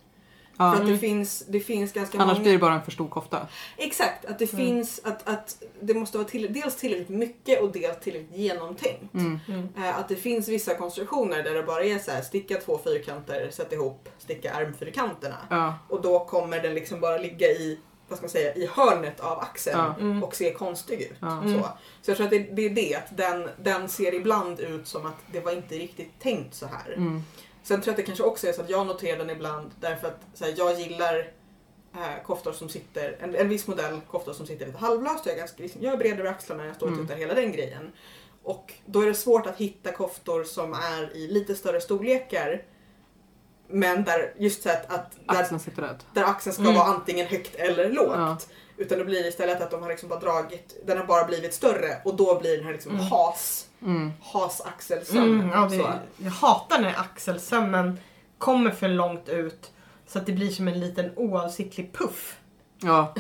[SPEAKER 2] Ja.
[SPEAKER 1] För att det finns, det finns ganska
[SPEAKER 2] Annars
[SPEAKER 1] många...
[SPEAKER 2] blir det bara en för stor kofta.
[SPEAKER 1] Exakt, att det
[SPEAKER 3] Mm.
[SPEAKER 1] finns, att, att det måste vara till, dels tillräckligt mycket och dels tillräckligt genomtänkt.
[SPEAKER 2] Mm.
[SPEAKER 1] Eh, att det finns vissa konstruktioner där det bara är så här, sticka två fyrkanter, sätt ihop, sticka armfyrkanterna.
[SPEAKER 2] Ja.
[SPEAKER 1] Och då kommer den liksom bara ligga i, vad ska man säga, i hörnet av axeln
[SPEAKER 2] Ja.
[SPEAKER 3] Mm.
[SPEAKER 1] och se konstig ut.
[SPEAKER 2] Ja.
[SPEAKER 3] Mm.
[SPEAKER 1] Så. så jag tror att det, det är det, att den, den ser ibland ut som att det var inte riktigt tänkt så här.
[SPEAKER 2] Mm.
[SPEAKER 1] Sen tror jag att det kanske också är så att jag noterar den ibland därför att så här, jag gillar eh, koftor som sitter, en, en viss modell koftor som sitter lite halvlöst. Jag är, ganska, liksom, jag är bred över axlarna, jag står och
[SPEAKER 2] Mm.
[SPEAKER 1] tittar hela den grejen. Och då är det svårt att hitta koftor som är i lite större storlekar men där just så att, att där,
[SPEAKER 2] Axeln sitter rätt.
[SPEAKER 1] där axeln ska
[SPEAKER 3] Mm.
[SPEAKER 1] vara antingen högt eller lågt.
[SPEAKER 2] Ja.
[SPEAKER 1] Utan det blir istället att de har liksom bara dragit, den har bara blivit större och då blir den här liksom
[SPEAKER 3] Mm.
[SPEAKER 1] has,
[SPEAKER 2] Mm.
[SPEAKER 1] hasaxelsömmen.
[SPEAKER 3] Mm, ja,
[SPEAKER 1] så.
[SPEAKER 3] det, jag hatar när axelsömmen kommer för långt ut så att det blir som en liten oavsiktlig puff.
[SPEAKER 2] Ja.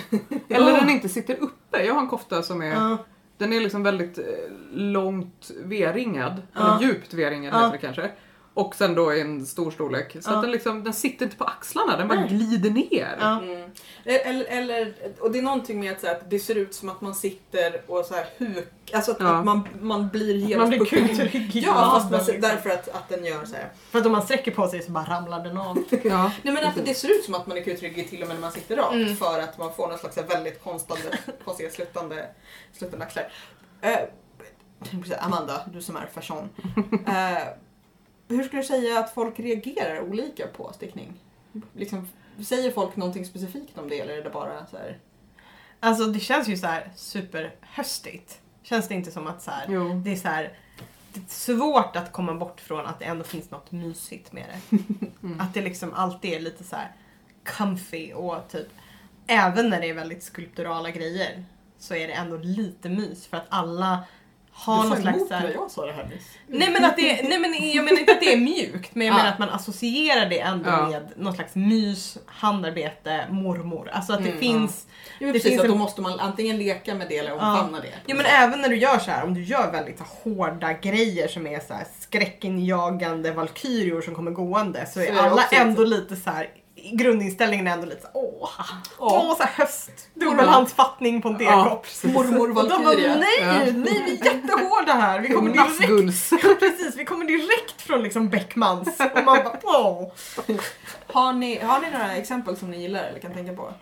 [SPEAKER 2] Eller
[SPEAKER 3] Ja.
[SPEAKER 2] den inte sitter uppe. Jag har en kofta som är
[SPEAKER 3] Ja.
[SPEAKER 2] Den är liksom väldigt eh, långt V-ringad,
[SPEAKER 3] Ja.
[SPEAKER 2] eller djupt V-ringad
[SPEAKER 3] Ja.
[SPEAKER 2] heter det kanske. Och sen då i en stor storlek. Så
[SPEAKER 3] Ja.
[SPEAKER 2] att den, liksom, den sitter inte på axlarna, den bara
[SPEAKER 3] Nej.
[SPEAKER 2] glider ner.
[SPEAKER 3] Ja.
[SPEAKER 1] Mm. Eller, eller, och det är någonting med att, så här, att det ser ut som att man sitter och så här huk, alltså att,
[SPEAKER 2] Ja.
[SPEAKER 1] att man, man blir helt
[SPEAKER 3] Man blir
[SPEAKER 1] puckad.
[SPEAKER 3] kulturryggig.
[SPEAKER 1] Ja, fast man, ser- därför att, att den gör så här.
[SPEAKER 3] För att om man sträcker på sig så bara ramlar den av.
[SPEAKER 2] Ja.
[SPEAKER 1] Nej men att det ser ut som att man är kutryggig till och med när man sitter rakt
[SPEAKER 3] Mm.
[SPEAKER 1] för att man får någon slags så här väldigt konstande, konstiga slutande, slutande axlar. Eh, Amanda, du som är fashion. Eh, hur skulle du säga att folk reagerar olika på stickning? Liksom, säger folk någonting specifikt om det eller är det bara så här?
[SPEAKER 3] Alltså det känns ju så här superhöstigt. Känns det inte som att så här,
[SPEAKER 2] Jo.
[SPEAKER 3] det är så här, det är svårt att komma bort från att det ändå finns något mysigt med det.
[SPEAKER 2] Mm.
[SPEAKER 3] Att det liksom alltid är lite så här comfy och typ även när det är väldigt skulpturala grejer så är det ändå lite mys för att alla har
[SPEAKER 1] du
[SPEAKER 3] någon
[SPEAKER 1] föll ihop
[SPEAKER 3] slags så här,
[SPEAKER 1] när jag sa det här nyss.
[SPEAKER 3] Nej men, att det, nej men jag menar inte att det är mjukt men jag
[SPEAKER 1] Ja.
[SPEAKER 3] menar att man associerar det ändå
[SPEAKER 2] Ja.
[SPEAKER 3] med något slags mys, handarbete, mormor. Alltså att det
[SPEAKER 1] Mm,
[SPEAKER 3] finns.
[SPEAKER 1] Jo, men
[SPEAKER 3] Det
[SPEAKER 1] precis,
[SPEAKER 3] finns
[SPEAKER 1] att
[SPEAKER 3] en-
[SPEAKER 1] då måste man antingen leka med det eller omfamna det.
[SPEAKER 3] Jo men även när du gör så här, om du gör väldigt så här hårda grejer som är så här skräckinjagande valkyrior som kommer gående så
[SPEAKER 1] Så
[SPEAKER 3] är
[SPEAKER 1] är det
[SPEAKER 3] alla
[SPEAKER 1] också lite-
[SPEAKER 3] ändå lite så här grundinställningen är ändå lite så, åh,
[SPEAKER 1] Ja.
[SPEAKER 3] åh så här höst. Dubbelhandsfattning på en
[SPEAKER 2] Ja,
[SPEAKER 3] tekopp.
[SPEAKER 2] precis.
[SPEAKER 1] Mormor
[SPEAKER 3] Och de bara,
[SPEAKER 1] Valkyria.
[SPEAKER 3] nej,
[SPEAKER 2] Ja.
[SPEAKER 3] nej, vi är jättehårda här. Vi kommer
[SPEAKER 2] Jonas
[SPEAKER 3] direkt
[SPEAKER 2] Guls.
[SPEAKER 3] Precis, vi kommer direkt från liksom Beckmans och man bara åh.
[SPEAKER 1] Har ni, har ni några exempel som ni gillar eller kan tänka på?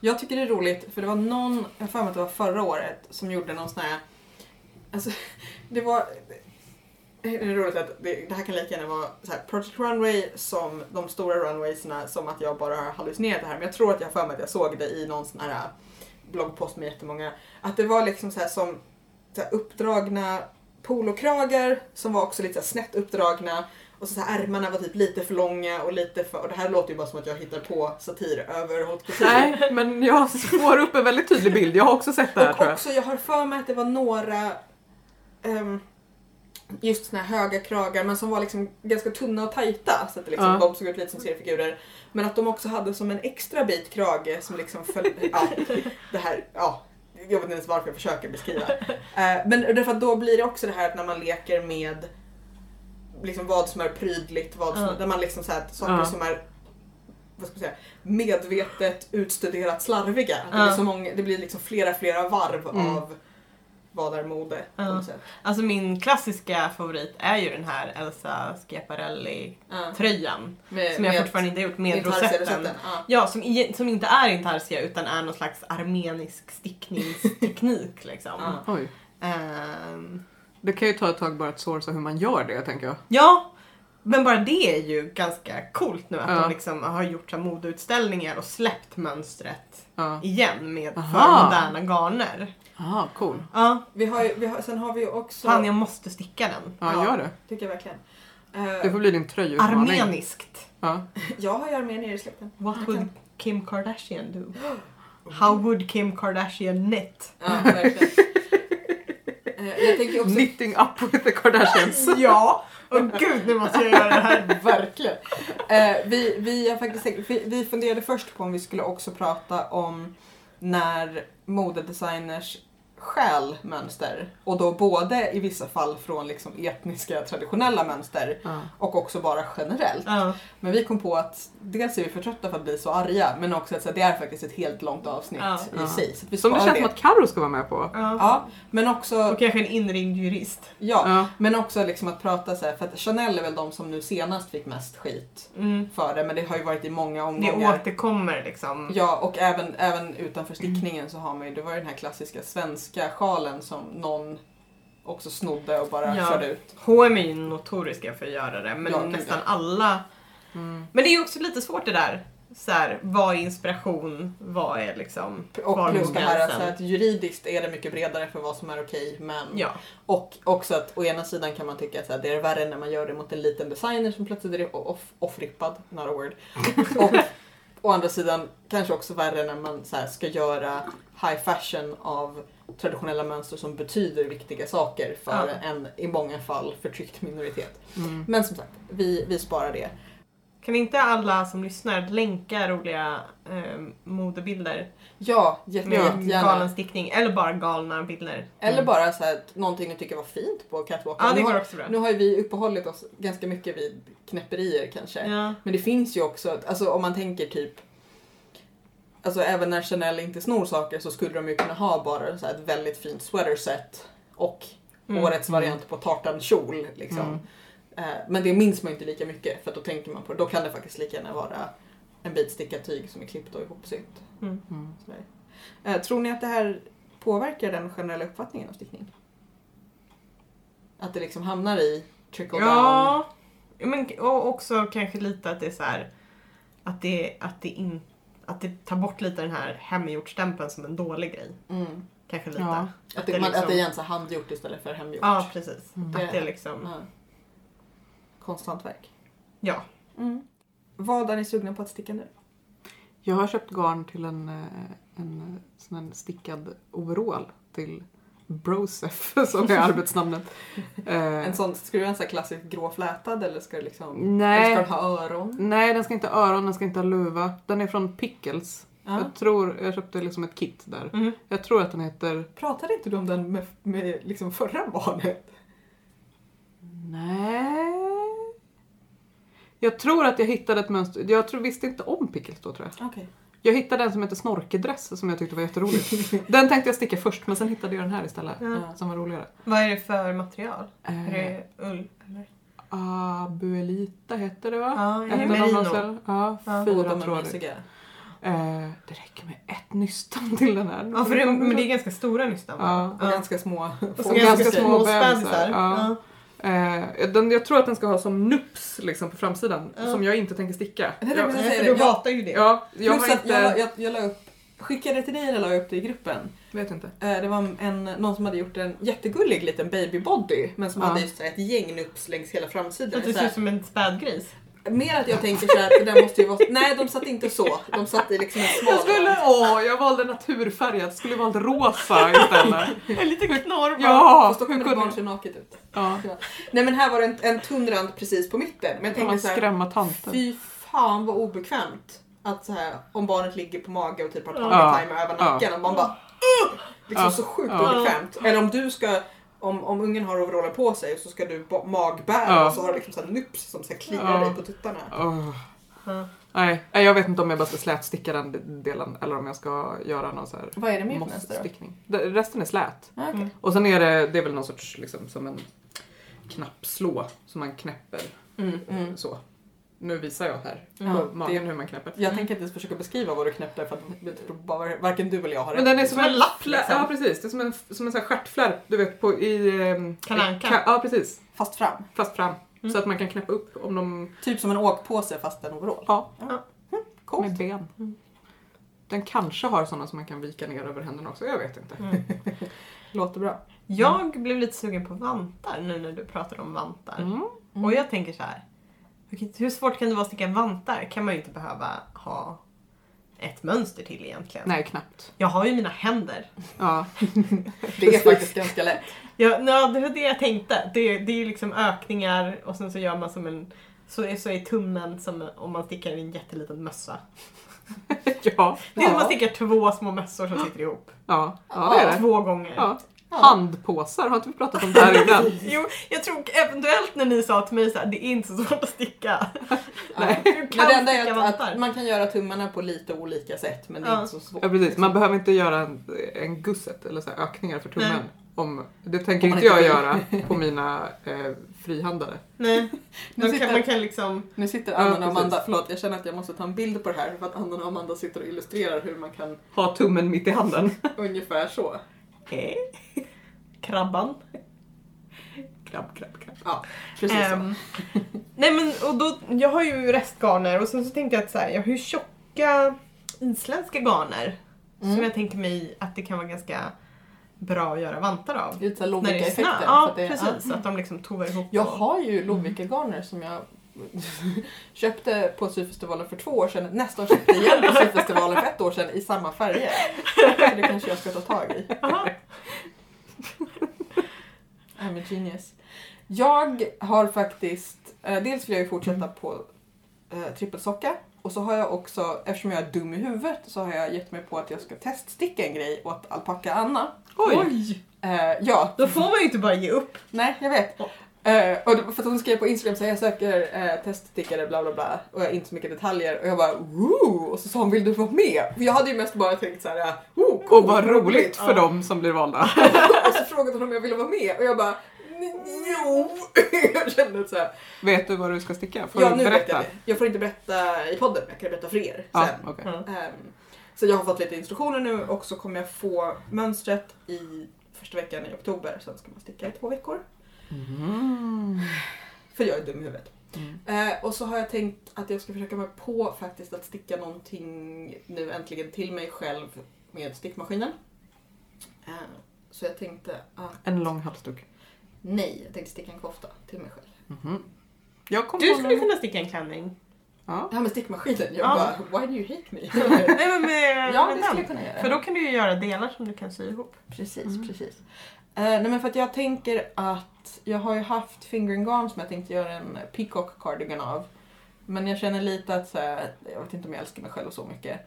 [SPEAKER 1] Jag tycker det är roligt för det var någon, jag har för mig att det var förra året, som gjorde någon sån här... Alltså, det var... Det är roligt att det, det här kan lika gärna vara så här, Project Runway som de stora runwaysna som att jag bara har hallucinerat det här. Men jag tror att jag har för mig att jag såg det i någon sån här äh, bloggpost med jättemånga. Att det var liksom så här som så här uppdragna polokragar som var också lite så här snett uppdragna. Och så, så här, ärmarna var typ lite för långa och lite för... Och det här låter ju bara som att jag hittar på satir över haute couture.
[SPEAKER 2] Nej, men jag får upp en väldigt tydlig bild. Jag har också sett det här
[SPEAKER 1] Och
[SPEAKER 2] tror jag.
[SPEAKER 1] också, jag har för mig att det var några ehm, just såna här höga kragar men som var liksom ganska tunna och tajta så att det liksom,
[SPEAKER 2] Ja.
[SPEAKER 1] de såg ut lite som seriefigurer. Men att de också hade som en extra bit krage som liksom följde... ja, det här, ja. Jag vet inte ens varför jag försöker beskriva. Eh, men därför att då blir det också det här att när man leker med liksom vad som är prydligt, vad som,
[SPEAKER 3] Ja.
[SPEAKER 1] där man liksom så här, saker
[SPEAKER 2] Ja.
[SPEAKER 1] som är vad ska man säga, medvetet utstuderat slarviga. Att Det,
[SPEAKER 3] Ja.
[SPEAKER 1] blir så många, det blir liksom flera, flera varv
[SPEAKER 2] Mm.
[SPEAKER 1] av vad är mode på
[SPEAKER 3] Ja.
[SPEAKER 1] något sätt.
[SPEAKER 3] Alltså min klassiska favorit är ju den här Elsa Schiaparelli-tröjan.
[SPEAKER 1] Ja. Med,
[SPEAKER 3] Som jag fortfarande inte har gjort Eh, med rosetten.
[SPEAKER 1] Ja.
[SPEAKER 3] Ja, som, i- som inte är intarsia utan är någon slags armenisk stickningsteknik liksom.
[SPEAKER 1] Ja.
[SPEAKER 2] Oj.
[SPEAKER 3] Ehm,
[SPEAKER 2] Det kan ju ta ett tag bara att sourca hur man gör det, tänker jag.
[SPEAKER 3] ja, men bara det är ju ganska coolt nu att
[SPEAKER 2] Ja.
[SPEAKER 3] de liksom har gjort så här modeutställningar och släppt mönstret
[SPEAKER 2] Ja,
[SPEAKER 3] igen med för
[SPEAKER 2] Aha.
[SPEAKER 3] moderna garner.
[SPEAKER 2] ah, cool.
[SPEAKER 3] Ja,
[SPEAKER 1] Vi har, ju- vi har, sen har vi ju också...
[SPEAKER 3] fan jag måste sticka den.
[SPEAKER 2] Ja, gör det.
[SPEAKER 1] Tycker jag verkligen.
[SPEAKER 2] Det
[SPEAKER 1] Eh,
[SPEAKER 2] får bli din tröjutmaning.
[SPEAKER 3] Armeniskt.
[SPEAKER 2] Ja.
[SPEAKER 1] jag har ju armenier i släkten.
[SPEAKER 3] What
[SPEAKER 1] Jag
[SPEAKER 3] would
[SPEAKER 1] kan-
[SPEAKER 3] Kim Kardashian do? How would Kim Kardashian knit?
[SPEAKER 1] Ja, verkligen. Eh, jag tänker också...
[SPEAKER 2] Knitting up with the Kardashians.
[SPEAKER 3] Ja! Och gud nu måste jag göra det här.
[SPEAKER 1] Verkligen. Eh, vi, vi, har faktiskt, tänkt- vi, vi funderade först på om vi skulle också prata om när modedesigners stjäl mönster. Och då både i vissa fall från liksom etniska traditionella mönster
[SPEAKER 2] Ja.
[SPEAKER 1] och också bara generellt.
[SPEAKER 3] Ja.
[SPEAKER 1] Men vi kom på att dels är vi för trötta för att bli så arga men också att så här, det är faktiskt ett helt långt avsnitt
[SPEAKER 3] Ja.
[SPEAKER 1] i sig. Så att vi
[SPEAKER 2] Som det
[SPEAKER 1] sparar
[SPEAKER 2] känns som att Carro ska vara med på.
[SPEAKER 3] Ja.
[SPEAKER 1] Ja, men också...
[SPEAKER 3] Och kanske en inringd jurist.
[SPEAKER 1] Ja,
[SPEAKER 2] Ja.
[SPEAKER 1] Men också liksom att prata så här, för att Chanel är väl de som nu senast fick mest skit
[SPEAKER 3] Mm.
[SPEAKER 1] för det, men det har ju varit i många
[SPEAKER 3] Det
[SPEAKER 1] omgångar.
[SPEAKER 3] återkommer liksom.
[SPEAKER 1] Ja, och även, även utanför stickningen så har man ju, det var ju den här klassiska svenska sjalen som någon också snodde och bara
[SPEAKER 3] Ja.
[SPEAKER 1] körde ut.
[SPEAKER 3] H&M är ju notoriska för att göra det, men
[SPEAKER 1] Ja, gud,
[SPEAKER 3] nästan
[SPEAKER 1] ja.
[SPEAKER 3] alla.
[SPEAKER 2] Mm.
[SPEAKER 3] Men det är ju också lite svårt det där. Så här, vad är inspiration? Vad är liksom... var
[SPEAKER 1] Och plus
[SPEAKER 3] går
[SPEAKER 1] det här
[SPEAKER 3] gränsen?
[SPEAKER 1] alltså, att juridiskt är det mycket bredare för vad som är okej, men
[SPEAKER 3] Ja.
[SPEAKER 1] och också att å ena sidan kan man tycka att så här, det är värre när man gör det mot en liten designer som plötsligt är off, off-rippad, not a word.
[SPEAKER 3] Mm.
[SPEAKER 1] och å andra sidan kanske också värre när man så här, ska göra high fashion av traditionella mönster som betyder viktiga saker för
[SPEAKER 3] Ja.
[SPEAKER 1] en i många fall förtryckt minoritet.
[SPEAKER 2] Mm.
[SPEAKER 1] Men som sagt, vi, vi sparar det.
[SPEAKER 3] Kan inte alla som lyssnar länka roliga eh, modebilder
[SPEAKER 1] Ja,
[SPEAKER 3] med
[SPEAKER 1] jättegärna.
[SPEAKER 3] galen stickning eller bara galna bilder?
[SPEAKER 1] Eller bara så här, att någonting ni tycker var fint på catwalken.
[SPEAKER 3] Ja, det
[SPEAKER 1] Nu har-
[SPEAKER 3] går också bra.
[SPEAKER 1] Nu har ju vi uppehållit oss ganska mycket vid knäpperier kanske.
[SPEAKER 3] Ja.
[SPEAKER 1] Men det finns ju också, alltså om man tänker typ Alltså även när Chanel inte snor saker så skulle de ju kunna ha bara så här ett väldigt fint sweaterset och
[SPEAKER 3] Mm.
[SPEAKER 1] årets variant på tartankjol. Liksom.
[SPEAKER 2] Mm,
[SPEAKER 1] Eh, Men det minns man ju inte lika mycket för då tänker man på det. Då kan det faktiskt lika gärna vara en bit stickat tyg som är klippt och ihopsytt.
[SPEAKER 3] Mm.
[SPEAKER 2] Mm.
[SPEAKER 1] Sådär. Eh, Tror ni att det här påverkar den generella uppfattningen av stickning? Att det liksom hamnar i trickle down?
[SPEAKER 3] Ja, men och också kanske lite att det är så här att det, att det, in, att det tar bort lite den här hemgjortstämpeln som en dålig grej.
[SPEAKER 1] Mm.
[SPEAKER 3] Kanske lite.
[SPEAKER 2] Ja.
[SPEAKER 1] Att det,
[SPEAKER 3] det
[SPEAKER 1] man,
[SPEAKER 3] liksom-
[SPEAKER 1] att det är ens är handgjort istället för hemgjort.
[SPEAKER 3] Ja, precis.
[SPEAKER 2] Mm.
[SPEAKER 3] Att det är liksom,
[SPEAKER 1] Ja. Konsthantverk.
[SPEAKER 3] ja.
[SPEAKER 1] Mm. Vad är ni sugna på att sticka nu?
[SPEAKER 2] Jag har köpt garn till en, eh, en, sån här stickad overall till Brosef som är arbetsnamnet. Eh,
[SPEAKER 1] En sån, ska du göra en sån här klassisk gråflätad eller ska du liksom... Eller ska
[SPEAKER 2] nej,
[SPEAKER 1] den ha öron?
[SPEAKER 2] nej, den ska inte ha öron, den ska inte ha luva. Den är från Pickles.
[SPEAKER 1] Ja.
[SPEAKER 2] Jag tror, jag köpte liksom ett kit där.
[SPEAKER 3] Mm.
[SPEAKER 2] Jag tror att den heter...
[SPEAKER 1] Pratade inte du om den med, med liksom förra barnet?
[SPEAKER 2] Nej. Jag tror att jag hittade ett mönster. Jag tror, visste inte om pickles då tror jag.
[SPEAKER 1] Okej.
[SPEAKER 2] Jag hittade en som hette snorkedress som jag tyckte var jätterolig. Den tänkte jag sticka först men sen hittade jag den här istället.
[SPEAKER 1] Ja.
[SPEAKER 2] Som var roligare.
[SPEAKER 3] Vad är det för material? Är
[SPEAKER 2] Eh,
[SPEAKER 3] det ull? Eller?
[SPEAKER 1] Eh,
[SPEAKER 2] Abuelita heter det va?
[SPEAKER 3] Ja,
[SPEAKER 2] Ett av de
[SPEAKER 3] merino.
[SPEAKER 2] här- ja,
[SPEAKER 3] Ja.
[SPEAKER 1] Och
[SPEAKER 2] fyra
[SPEAKER 1] de är
[SPEAKER 2] trådar.
[SPEAKER 1] mysiga.
[SPEAKER 2] Eh, det räcker med ett nystan till den här.
[SPEAKER 3] Ja, för det, men det är ganska stora nystan.
[SPEAKER 2] Ja.
[SPEAKER 1] Och ganska små.
[SPEAKER 3] Och så
[SPEAKER 2] Och
[SPEAKER 3] ganska,
[SPEAKER 2] ganska
[SPEAKER 3] små
[SPEAKER 2] små bebisar.
[SPEAKER 3] bebisar.
[SPEAKER 2] Ja. Eh, den, jag tror att den ska ha som nups liksom, på framsidan,
[SPEAKER 3] Ja.
[SPEAKER 2] som jag inte tänker sticka.
[SPEAKER 1] Jag tänkte
[SPEAKER 2] Jag,
[SPEAKER 1] precis-
[SPEAKER 3] Nej,
[SPEAKER 1] säger
[SPEAKER 3] för
[SPEAKER 1] det.
[SPEAKER 3] du
[SPEAKER 1] Jag-
[SPEAKER 3] hatar ju det.
[SPEAKER 2] ja, jag
[SPEAKER 1] Plus
[SPEAKER 2] har
[SPEAKER 1] att
[SPEAKER 2] inte...
[SPEAKER 1] jag, la- jag, jag la upp, skickade till dig eller la upp det i gruppen.
[SPEAKER 2] Vet inte.
[SPEAKER 1] Eh, Det var en, någon som hade gjort en jättegullig liten babybody men som
[SPEAKER 2] Ja.
[SPEAKER 1] hade just så här ett gäng nups längs hela framsidan.
[SPEAKER 3] Att du
[SPEAKER 1] Så
[SPEAKER 3] ser
[SPEAKER 1] här,
[SPEAKER 3] ut som en spädgris.
[SPEAKER 1] Mer att jag tänker så här, det där måste ju vara... Nej, de satt inte så. De satt i liksom en smal...
[SPEAKER 2] Jag skulle... Åh, jag valde naturfärgat. Skulle valt rosa istället.
[SPEAKER 3] En liten knorr bara.
[SPEAKER 2] ja,
[SPEAKER 1] Fast då
[SPEAKER 2] Ah, hur
[SPEAKER 1] kommer
[SPEAKER 2] kunde...
[SPEAKER 1] det barn se naket ut.
[SPEAKER 2] Ja,
[SPEAKER 1] Nej men här var det en, en tunn rand precis på mitten. Men jag
[SPEAKER 2] kan man
[SPEAKER 1] tänkte så här,
[SPEAKER 2] skrämma tanten?
[SPEAKER 1] fy fan vad obekvämt. Att så här, om barnet ligger på mage och typ har
[SPEAKER 3] Ja.
[SPEAKER 1] tummy-timer över
[SPEAKER 2] Ja.
[SPEAKER 1] nacken och man bara "Ugh!" Liksom
[SPEAKER 2] Ja.
[SPEAKER 1] så sjukt
[SPEAKER 2] Ja.
[SPEAKER 1] obekvämt. Eller om du ska om, om ungen har overallen på sig så ska du ba- magbära
[SPEAKER 2] Ja.
[SPEAKER 1] och så har du liksom så här nups som så här kliar
[SPEAKER 2] Ja.
[SPEAKER 1] dig på tuttarna.
[SPEAKER 2] Åh.
[SPEAKER 3] Ja.
[SPEAKER 2] Ah. Nej, nej, jag vet inte om jag bara ska slätsticka den delen eller om jag ska göra någon så här
[SPEAKER 1] Vad är det mer för mönster då?
[SPEAKER 2] mossstickning. Det- Resten är slät. Mm.
[SPEAKER 1] Ah, okej.
[SPEAKER 2] Och sen är det, det är väl någon sorts liksom som en knappslå som man knäpper
[SPEAKER 1] Mm, mm.
[SPEAKER 2] så. Nu visar jag här på
[SPEAKER 1] Ja,
[SPEAKER 2] magen hur man knäpper.
[SPEAKER 1] Jag tänker inte ens försöka beskriva vad du knäppte för att jag tror bara, varken du eller jag har
[SPEAKER 2] Men den är
[SPEAKER 1] rätt.
[SPEAKER 2] som, en, lapp
[SPEAKER 3] liksom.
[SPEAKER 2] Ja precis, det är som en, som en sån här stjärtflärp du vet på i... ehm,
[SPEAKER 3] Kalle Anka.
[SPEAKER 2] ka- Ja precis,
[SPEAKER 1] Fast fram.
[SPEAKER 2] fast fram.
[SPEAKER 3] Mm.
[SPEAKER 2] Så att man kan knäppa upp om de...
[SPEAKER 1] Typ som en åkpåse fast en overall.
[SPEAKER 2] Ja,
[SPEAKER 1] Coolt.
[SPEAKER 2] med ben.
[SPEAKER 3] Mm.
[SPEAKER 2] Den kanske har såna som man kan vika ner över händerna också, jag vet inte.
[SPEAKER 3] Mm.
[SPEAKER 1] Låter bra.
[SPEAKER 3] Jag blev lite sugen på vantar nu när du pratade om vantar.
[SPEAKER 2] Mm.
[SPEAKER 3] Och jag tänker så här. vilket- Hur svårt kan det vara att sticka vantar? Kan man ju inte behöva ha ett mönster till egentligen.
[SPEAKER 2] Nej, knappt.
[SPEAKER 3] Jag har ju mina händer.
[SPEAKER 2] Ja.
[SPEAKER 1] Det är faktiskt ganska lätt.
[SPEAKER 3] Jag, nå, det var det jag tänkte. Det, det är ju liksom ökningar och sen så gör man som en... Så är, så är tummen som om man stickar en jätteliten mössa.
[SPEAKER 2] ja.
[SPEAKER 3] Det är som
[SPEAKER 1] Ja.
[SPEAKER 3] att man stickar två små mössor som sitter ihop.
[SPEAKER 2] Ja. ja, det är det.
[SPEAKER 3] Två gånger.
[SPEAKER 2] Ja.
[SPEAKER 1] Ja.
[SPEAKER 2] Handpåsar, har inte vi pratat om det här innan?
[SPEAKER 3] Jo, jag tror eventuellt när ni sa till mig så här, det är inte så svårt att sticka.
[SPEAKER 1] Nej.
[SPEAKER 3] Du kan
[SPEAKER 1] Men det enda
[SPEAKER 3] sticka
[SPEAKER 1] är att,
[SPEAKER 3] vantar.
[SPEAKER 1] att man kan göra tummarna på lite olika sätt men det är
[SPEAKER 3] Ja.
[SPEAKER 1] inte så svårt.
[SPEAKER 2] Ja precis, man behöver inte göra en, en gusset eller så här, ökningar för tummen.
[SPEAKER 3] Nej.
[SPEAKER 2] Om, det tänker
[SPEAKER 1] Om man
[SPEAKER 2] inte jag
[SPEAKER 1] inte
[SPEAKER 2] göra på mina eh, frihandlare.
[SPEAKER 3] Nej,
[SPEAKER 1] Nu
[SPEAKER 3] man kan, man
[SPEAKER 1] sitter,
[SPEAKER 3] kan liksom...
[SPEAKER 1] nu sitter
[SPEAKER 2] Ja,
[SPEAKER 1] Anna och Amanda,
[SPEAKER 2] precis.
[SPEAKER 1] förlåt jag känner att jag måste ta en bild på det här för att Anna och Amanda sitter och illustrerar hur man kan
[SPEAKER 2] Ha tummen mitt i handen.
[SPEAKER 1] ungefär så.
[SPEAKER 3] Eh, Krabban.
[SPEAKER 2] Krabb, krabb, krabb.
[SPEAKER 1] Ja, precis så.
[SPEAKER 3] Ehm, nej men och då, jag har ju restgarner och sen så tänkte jag att så här, jag har ju tjocka isländska garner.
[SPEAKER 1] Mm.
[SPEAKER 3] Som jag tänker mig att det kan vara ganska bra att göra vantar av.
[SPEAKER 1] Lite såhär
[SPEAKER 3] När det är snö.
[SPEAKER 1] Lovikka-effekter. för
[SPEAKER 3] Ja
[SPEAKER 1] att det är-
[SPEAKER 3] precis, att de liksom tovar ihop.
[SPEAKER 1] Jag
[SPEAKER 3] och-
[SPEAKER 1] har ju Lovikka-garner som jag köpte på syfestivalen för två år sedan. Nästa år köpte jag igen på syfestivalen för ett år sedan i samma färger. Så det kanske jag ska ta tag i.
[SPEAKER 3] Jaha.
[SPEAKER 1] I'm a genius. Jag har faktiskt, eh, dels vill jag ju fortsätta på eh, trippelsocka och så har jag också, eftersom jag är dum i huvudet, så har jag gett mig på att jag ska teststicka en grej åt alpaka Anna.
[SPEAKER 2] Oj!
[SPEAKER 1] Eh, ja,
[SPEAKER 3] Då får man ju inte bara ge upp.
[SPEAKER 1] nej jag vet. Eh, och det var för att hon skrev på Instagram så här, jag söker eh, teststickare bla bla bla och jag har inte så mycket detaljer och jag bara woo! Och så sa hon vill du vara med? För jag hade ju mest bara tänkt så här, oh,
[SPEAKER 2] Och vad roligt för
[SPEAKER 3] Ja.
[SPEAKER 2] dem som blir valda.
[SPEAKER 1] Och så frågade hon om jag ville vara med och jag bara jo! jag kände så här,
[SPEAKER 2] Vet du vad du ska sticka? Får
[SPEAKER 1] Ja,
[SPEAKER 2] du
[SPEAKER 1] nu vet
[SPEAKER 2] berätta?
[SPEAKER 1] jag det. Jag får inte berätta i podden, men jag kan berätta för er
[SPEAKER 2] Ja,
[SPEAKER 1] sen.
[SPEAKER 2] okej.
[SPEAKER 3] Ja.
[SPEAKER 1] Ehm, så jag har fått lite instruktioner nu och så kommer jag få mönstret i första veckan i oktober. Sen ska man sticka i två veckor.
[SPEAKER 2] Mm.
[SPEAKER 1] För jag är dum i huvudet.
[SPEAKER 2] Mm.
[SPEAKER 1] Eh, och så har jag tänkt att jag ska försöka mig på faktiskt att sticka någonting nu äntligen till mig själv med stickmaskinen. Eh, så jag tänkte att
[SPEAKER 2] En lång halsduk.
[SPEAKER 1] nej, jag tänkte sticka en kofta till mig själv.
[SPEAKER 2] Mhm. Jag kom
[SPEAKER 3] Du
[SPEAKER 2] på
[SPEAKER 3] skulle
[SPEAKER 2] någon-
[SPEAKER 3] kunna sticka en klänning.
[SPEAKER 2] ja.
[SPEAKER 1] Det här med stickmaskinen, jag
[SPEAKER 3] Ja.
[SPEAKER 1] bara why do you hate me?
[SPEAKER 3] Nej men med,
[SPEAKER 1] ja,
[SPEAKER 3] med
[SPEAKER 1] det
[SPEAKER 3] den.
[SPEAKER 1] skulle jag kunna göra.
[SPEAKER 3] För då kan du ju göra delar som du kan sy ihop.
[SPEAKER 1] Precis,
[SPEAKER 2] Mm.
[SPEAKER 1] precis. Eh, nej men för att jag tänker att jag har ju haft fingering garn som jag tänkte göra en peacock cardigan av. Men jag känner lite att så här, jag vet inte om jag älskar mig själv så mycket.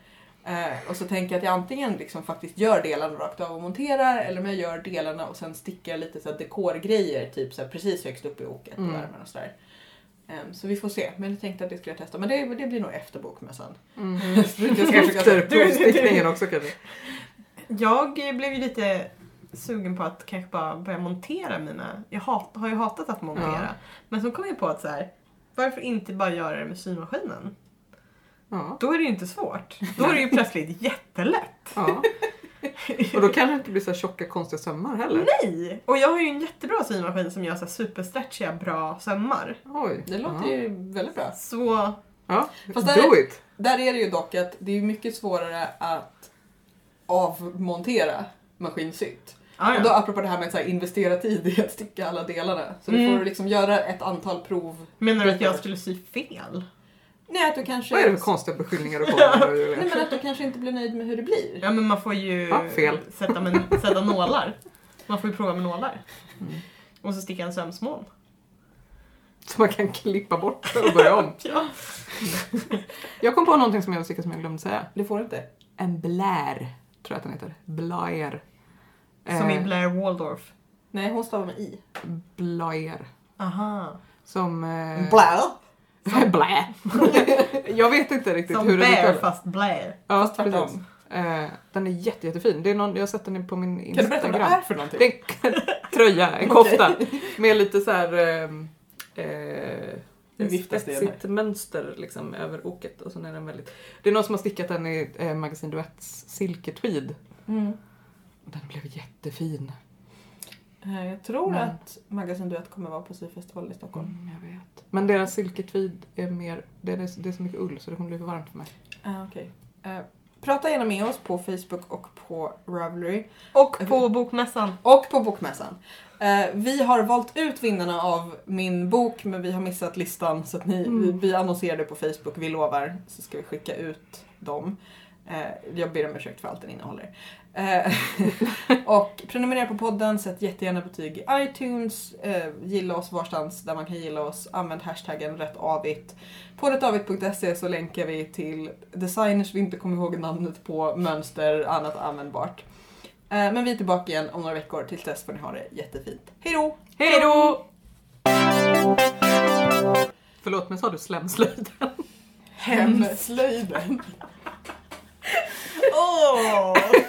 [SPEAKER 1] Eh, och så tänker jag att jag antingen liksom faktiskt gör delarna rakt av och monterar eller om jag gör delarna och sen stickar jag lite så här dekorgrejer typ så här precis högst upp i oket och
[SPEAKER 2] Mm.
[SPEAKER 1] värmen och sådär. Ehm, Så vi får se. Men jag tänkte att det skulle jag testa. Men det, det blir nog efter bokmässan.
[SPEAKER 2] Mm.
[SPEAKER 1] Jag ska försöka-
[SPEAKER 2] Efter provstickningen också kanske.
[SPEAKER 3] Jag blev ju lite sugen på att kanske bara börja montera mina... Jag hat, har ju hatat att montera.
[SPEAKER 2] Ja.
[SPEAKER 3] Men så kom jag på att så här, varför inte bara göra det med symaskinen?
[SPEAKER 2] Ja,
[SPEAKER 3] Då är det ju inte svårt. Då är det ju plötsligt jättelätt.
[SPEAKER 2] ja. Och då kanske det inte blir så här tjocka konstiga sömmar heller.
[SPEAKER 3] Nej! Och jag har ju en jättebra symaskin som gör så här superstretchiga, bra sömmar.
[SPEAKER 2] Oj.
[SPEAKER 1] Det låter
[SPEAKER 2] ja.
[SPEAKER 1] ju väldigt bra.
[SPEAKER 3] Så
[SPEAKER 2] Ja,
[SPEAKER 1] Fast där-
[SPEAKER 2] do it!
[SPEAKER 1] Där är det ju dock att det är mycket svårare att avmontera maskinsytt.
[SPEAKER 2] Ah,
[SPEAKER 3] Ja,
[SPEAKER 1] Och då
[SPEAKER 3] ja.
[SPEAKER 1] apropå det här med att så här, investera tid i att sticka alla delarna. Så du
[SPEAKER 3] Mm.
[SPEAKER 1] får liksom göra ett antal prov.
[SPEAKER 3] Menar du att jag skulle sy fel?
[SPEAKER 1] Nej, att du kanske...
[SPEAKER 2] Vad är det för konstiga beskyllningar du kommer med Julia?
[SPEAKER 1] Nej, men att du kanske inte blir nöjd med hur det blir.
[SPEAKER 3] Ja men man får ju
[SPEAKER 2] Ja, fel.
[SPEAKER 3] Sätta, med, sätta nålar. Man får ju prova med nålar. Och så sticka en sömsmån.
[SPEAKER 2] Så man kan klippa bort och börja om.
[SPEAKER 3] Ja.
[SPEAKER 2] Jag kom på någonting som jag vill sticka som jag glömde säga.
[SPEAKER 1] Du får inte.
[SPEAKER 2] En blär, tror jag att den heter. Blair.
[SPEAKER 3] Som i
[SPEAKER 2] Eh,
[SPEAKER 3] Blair Waldorf.
[SPEAKER 1] Nej, hon stavar med i.
[SPEAKER 2] Blair.
[SPEAKER 3] Aha.
[SPEAKER 2] Som... Eh,
[SPEAKER 1] Blä!
[SPEAKER 2] blä. jag vet inte riktigt
[SPEAKER 3] Som
[SPEAKER 2] hur den
[SPEAKER 3] Bear
[SPEAKER 2] uttalas.
[SPEAKER 3] fast Blair.
[SPEAKER 2] Ja,
[SPEAKER 1] tvärtom.
[SPEAKER 2] precis. Eh, den är jätte, jättefin. Det är någon, jag har sett den på min
[SPEAKER 1] Kan du
[SPEAKER 2] Instagram.
[SPEAKER 1] berätta vad det är för någonting?
[SPEAKER 2] Det är en tröja, en kofta. Med lite så här... ehm, Eh,
[SPEAKER 1] Det viftar
[SPEAKER 2] spetsigt mönster liksom över oket. Och sen är den väldigt... Det är någon som har stickat den i eh, Magasin Duetts silketweed.
[SPEAKER 1] Mm.
[SPEAKER 2] Den blev jättefin.
[SPEAKER 1] Eh, Jag tror
[SPEAKER 2] Mm.
[SPEAKER 1] att Magasin Duett kommer vara på syfestivalen i Stockholm.
[SPEAKER 2] Mm, jag vet. Men deras silketweed är mer... Det är, det är så mycket ull så det kommer bli för varmt för mig.
[SPEAKER 1] Ah, okej. Eh, Prata gärna med oss på Facebook och på Ravelry.
[SPEAKER 3] Och på bokmässan.
[SPEAKER 1] Och på Bokmässan. Eh, vi har valt ut vinnarna av min bok men vi har missat listan så att ni,
[SPEAKER 2] Mm.
[SPEAKER 1] vi, vi annonserar det på Facebook, vi lovar. Så ska vi skicka ut dem. Eh, jag ber om ursäkt för allt den innehåller. Eh, och prenumerera på podden, sätt jättegärna betyg i iTunes, eh, gilla oss varstans där man kan gilla oss, använd hashtaggen rättavigt. På rättavigt.se så länkar vi till designers vi inte kommer ihåg namnet på, mönster, annat användbart. Eh, Men vi är tillbaka igen om några veckor. Tills dess får ni ha det jättefint. Hej då!
[SPEAKER 2] Hej då! Förlåt, men sa du slemslöjd?
[SPEAKER 1] Hemslöjden!
[SPEAKER 3] Åh!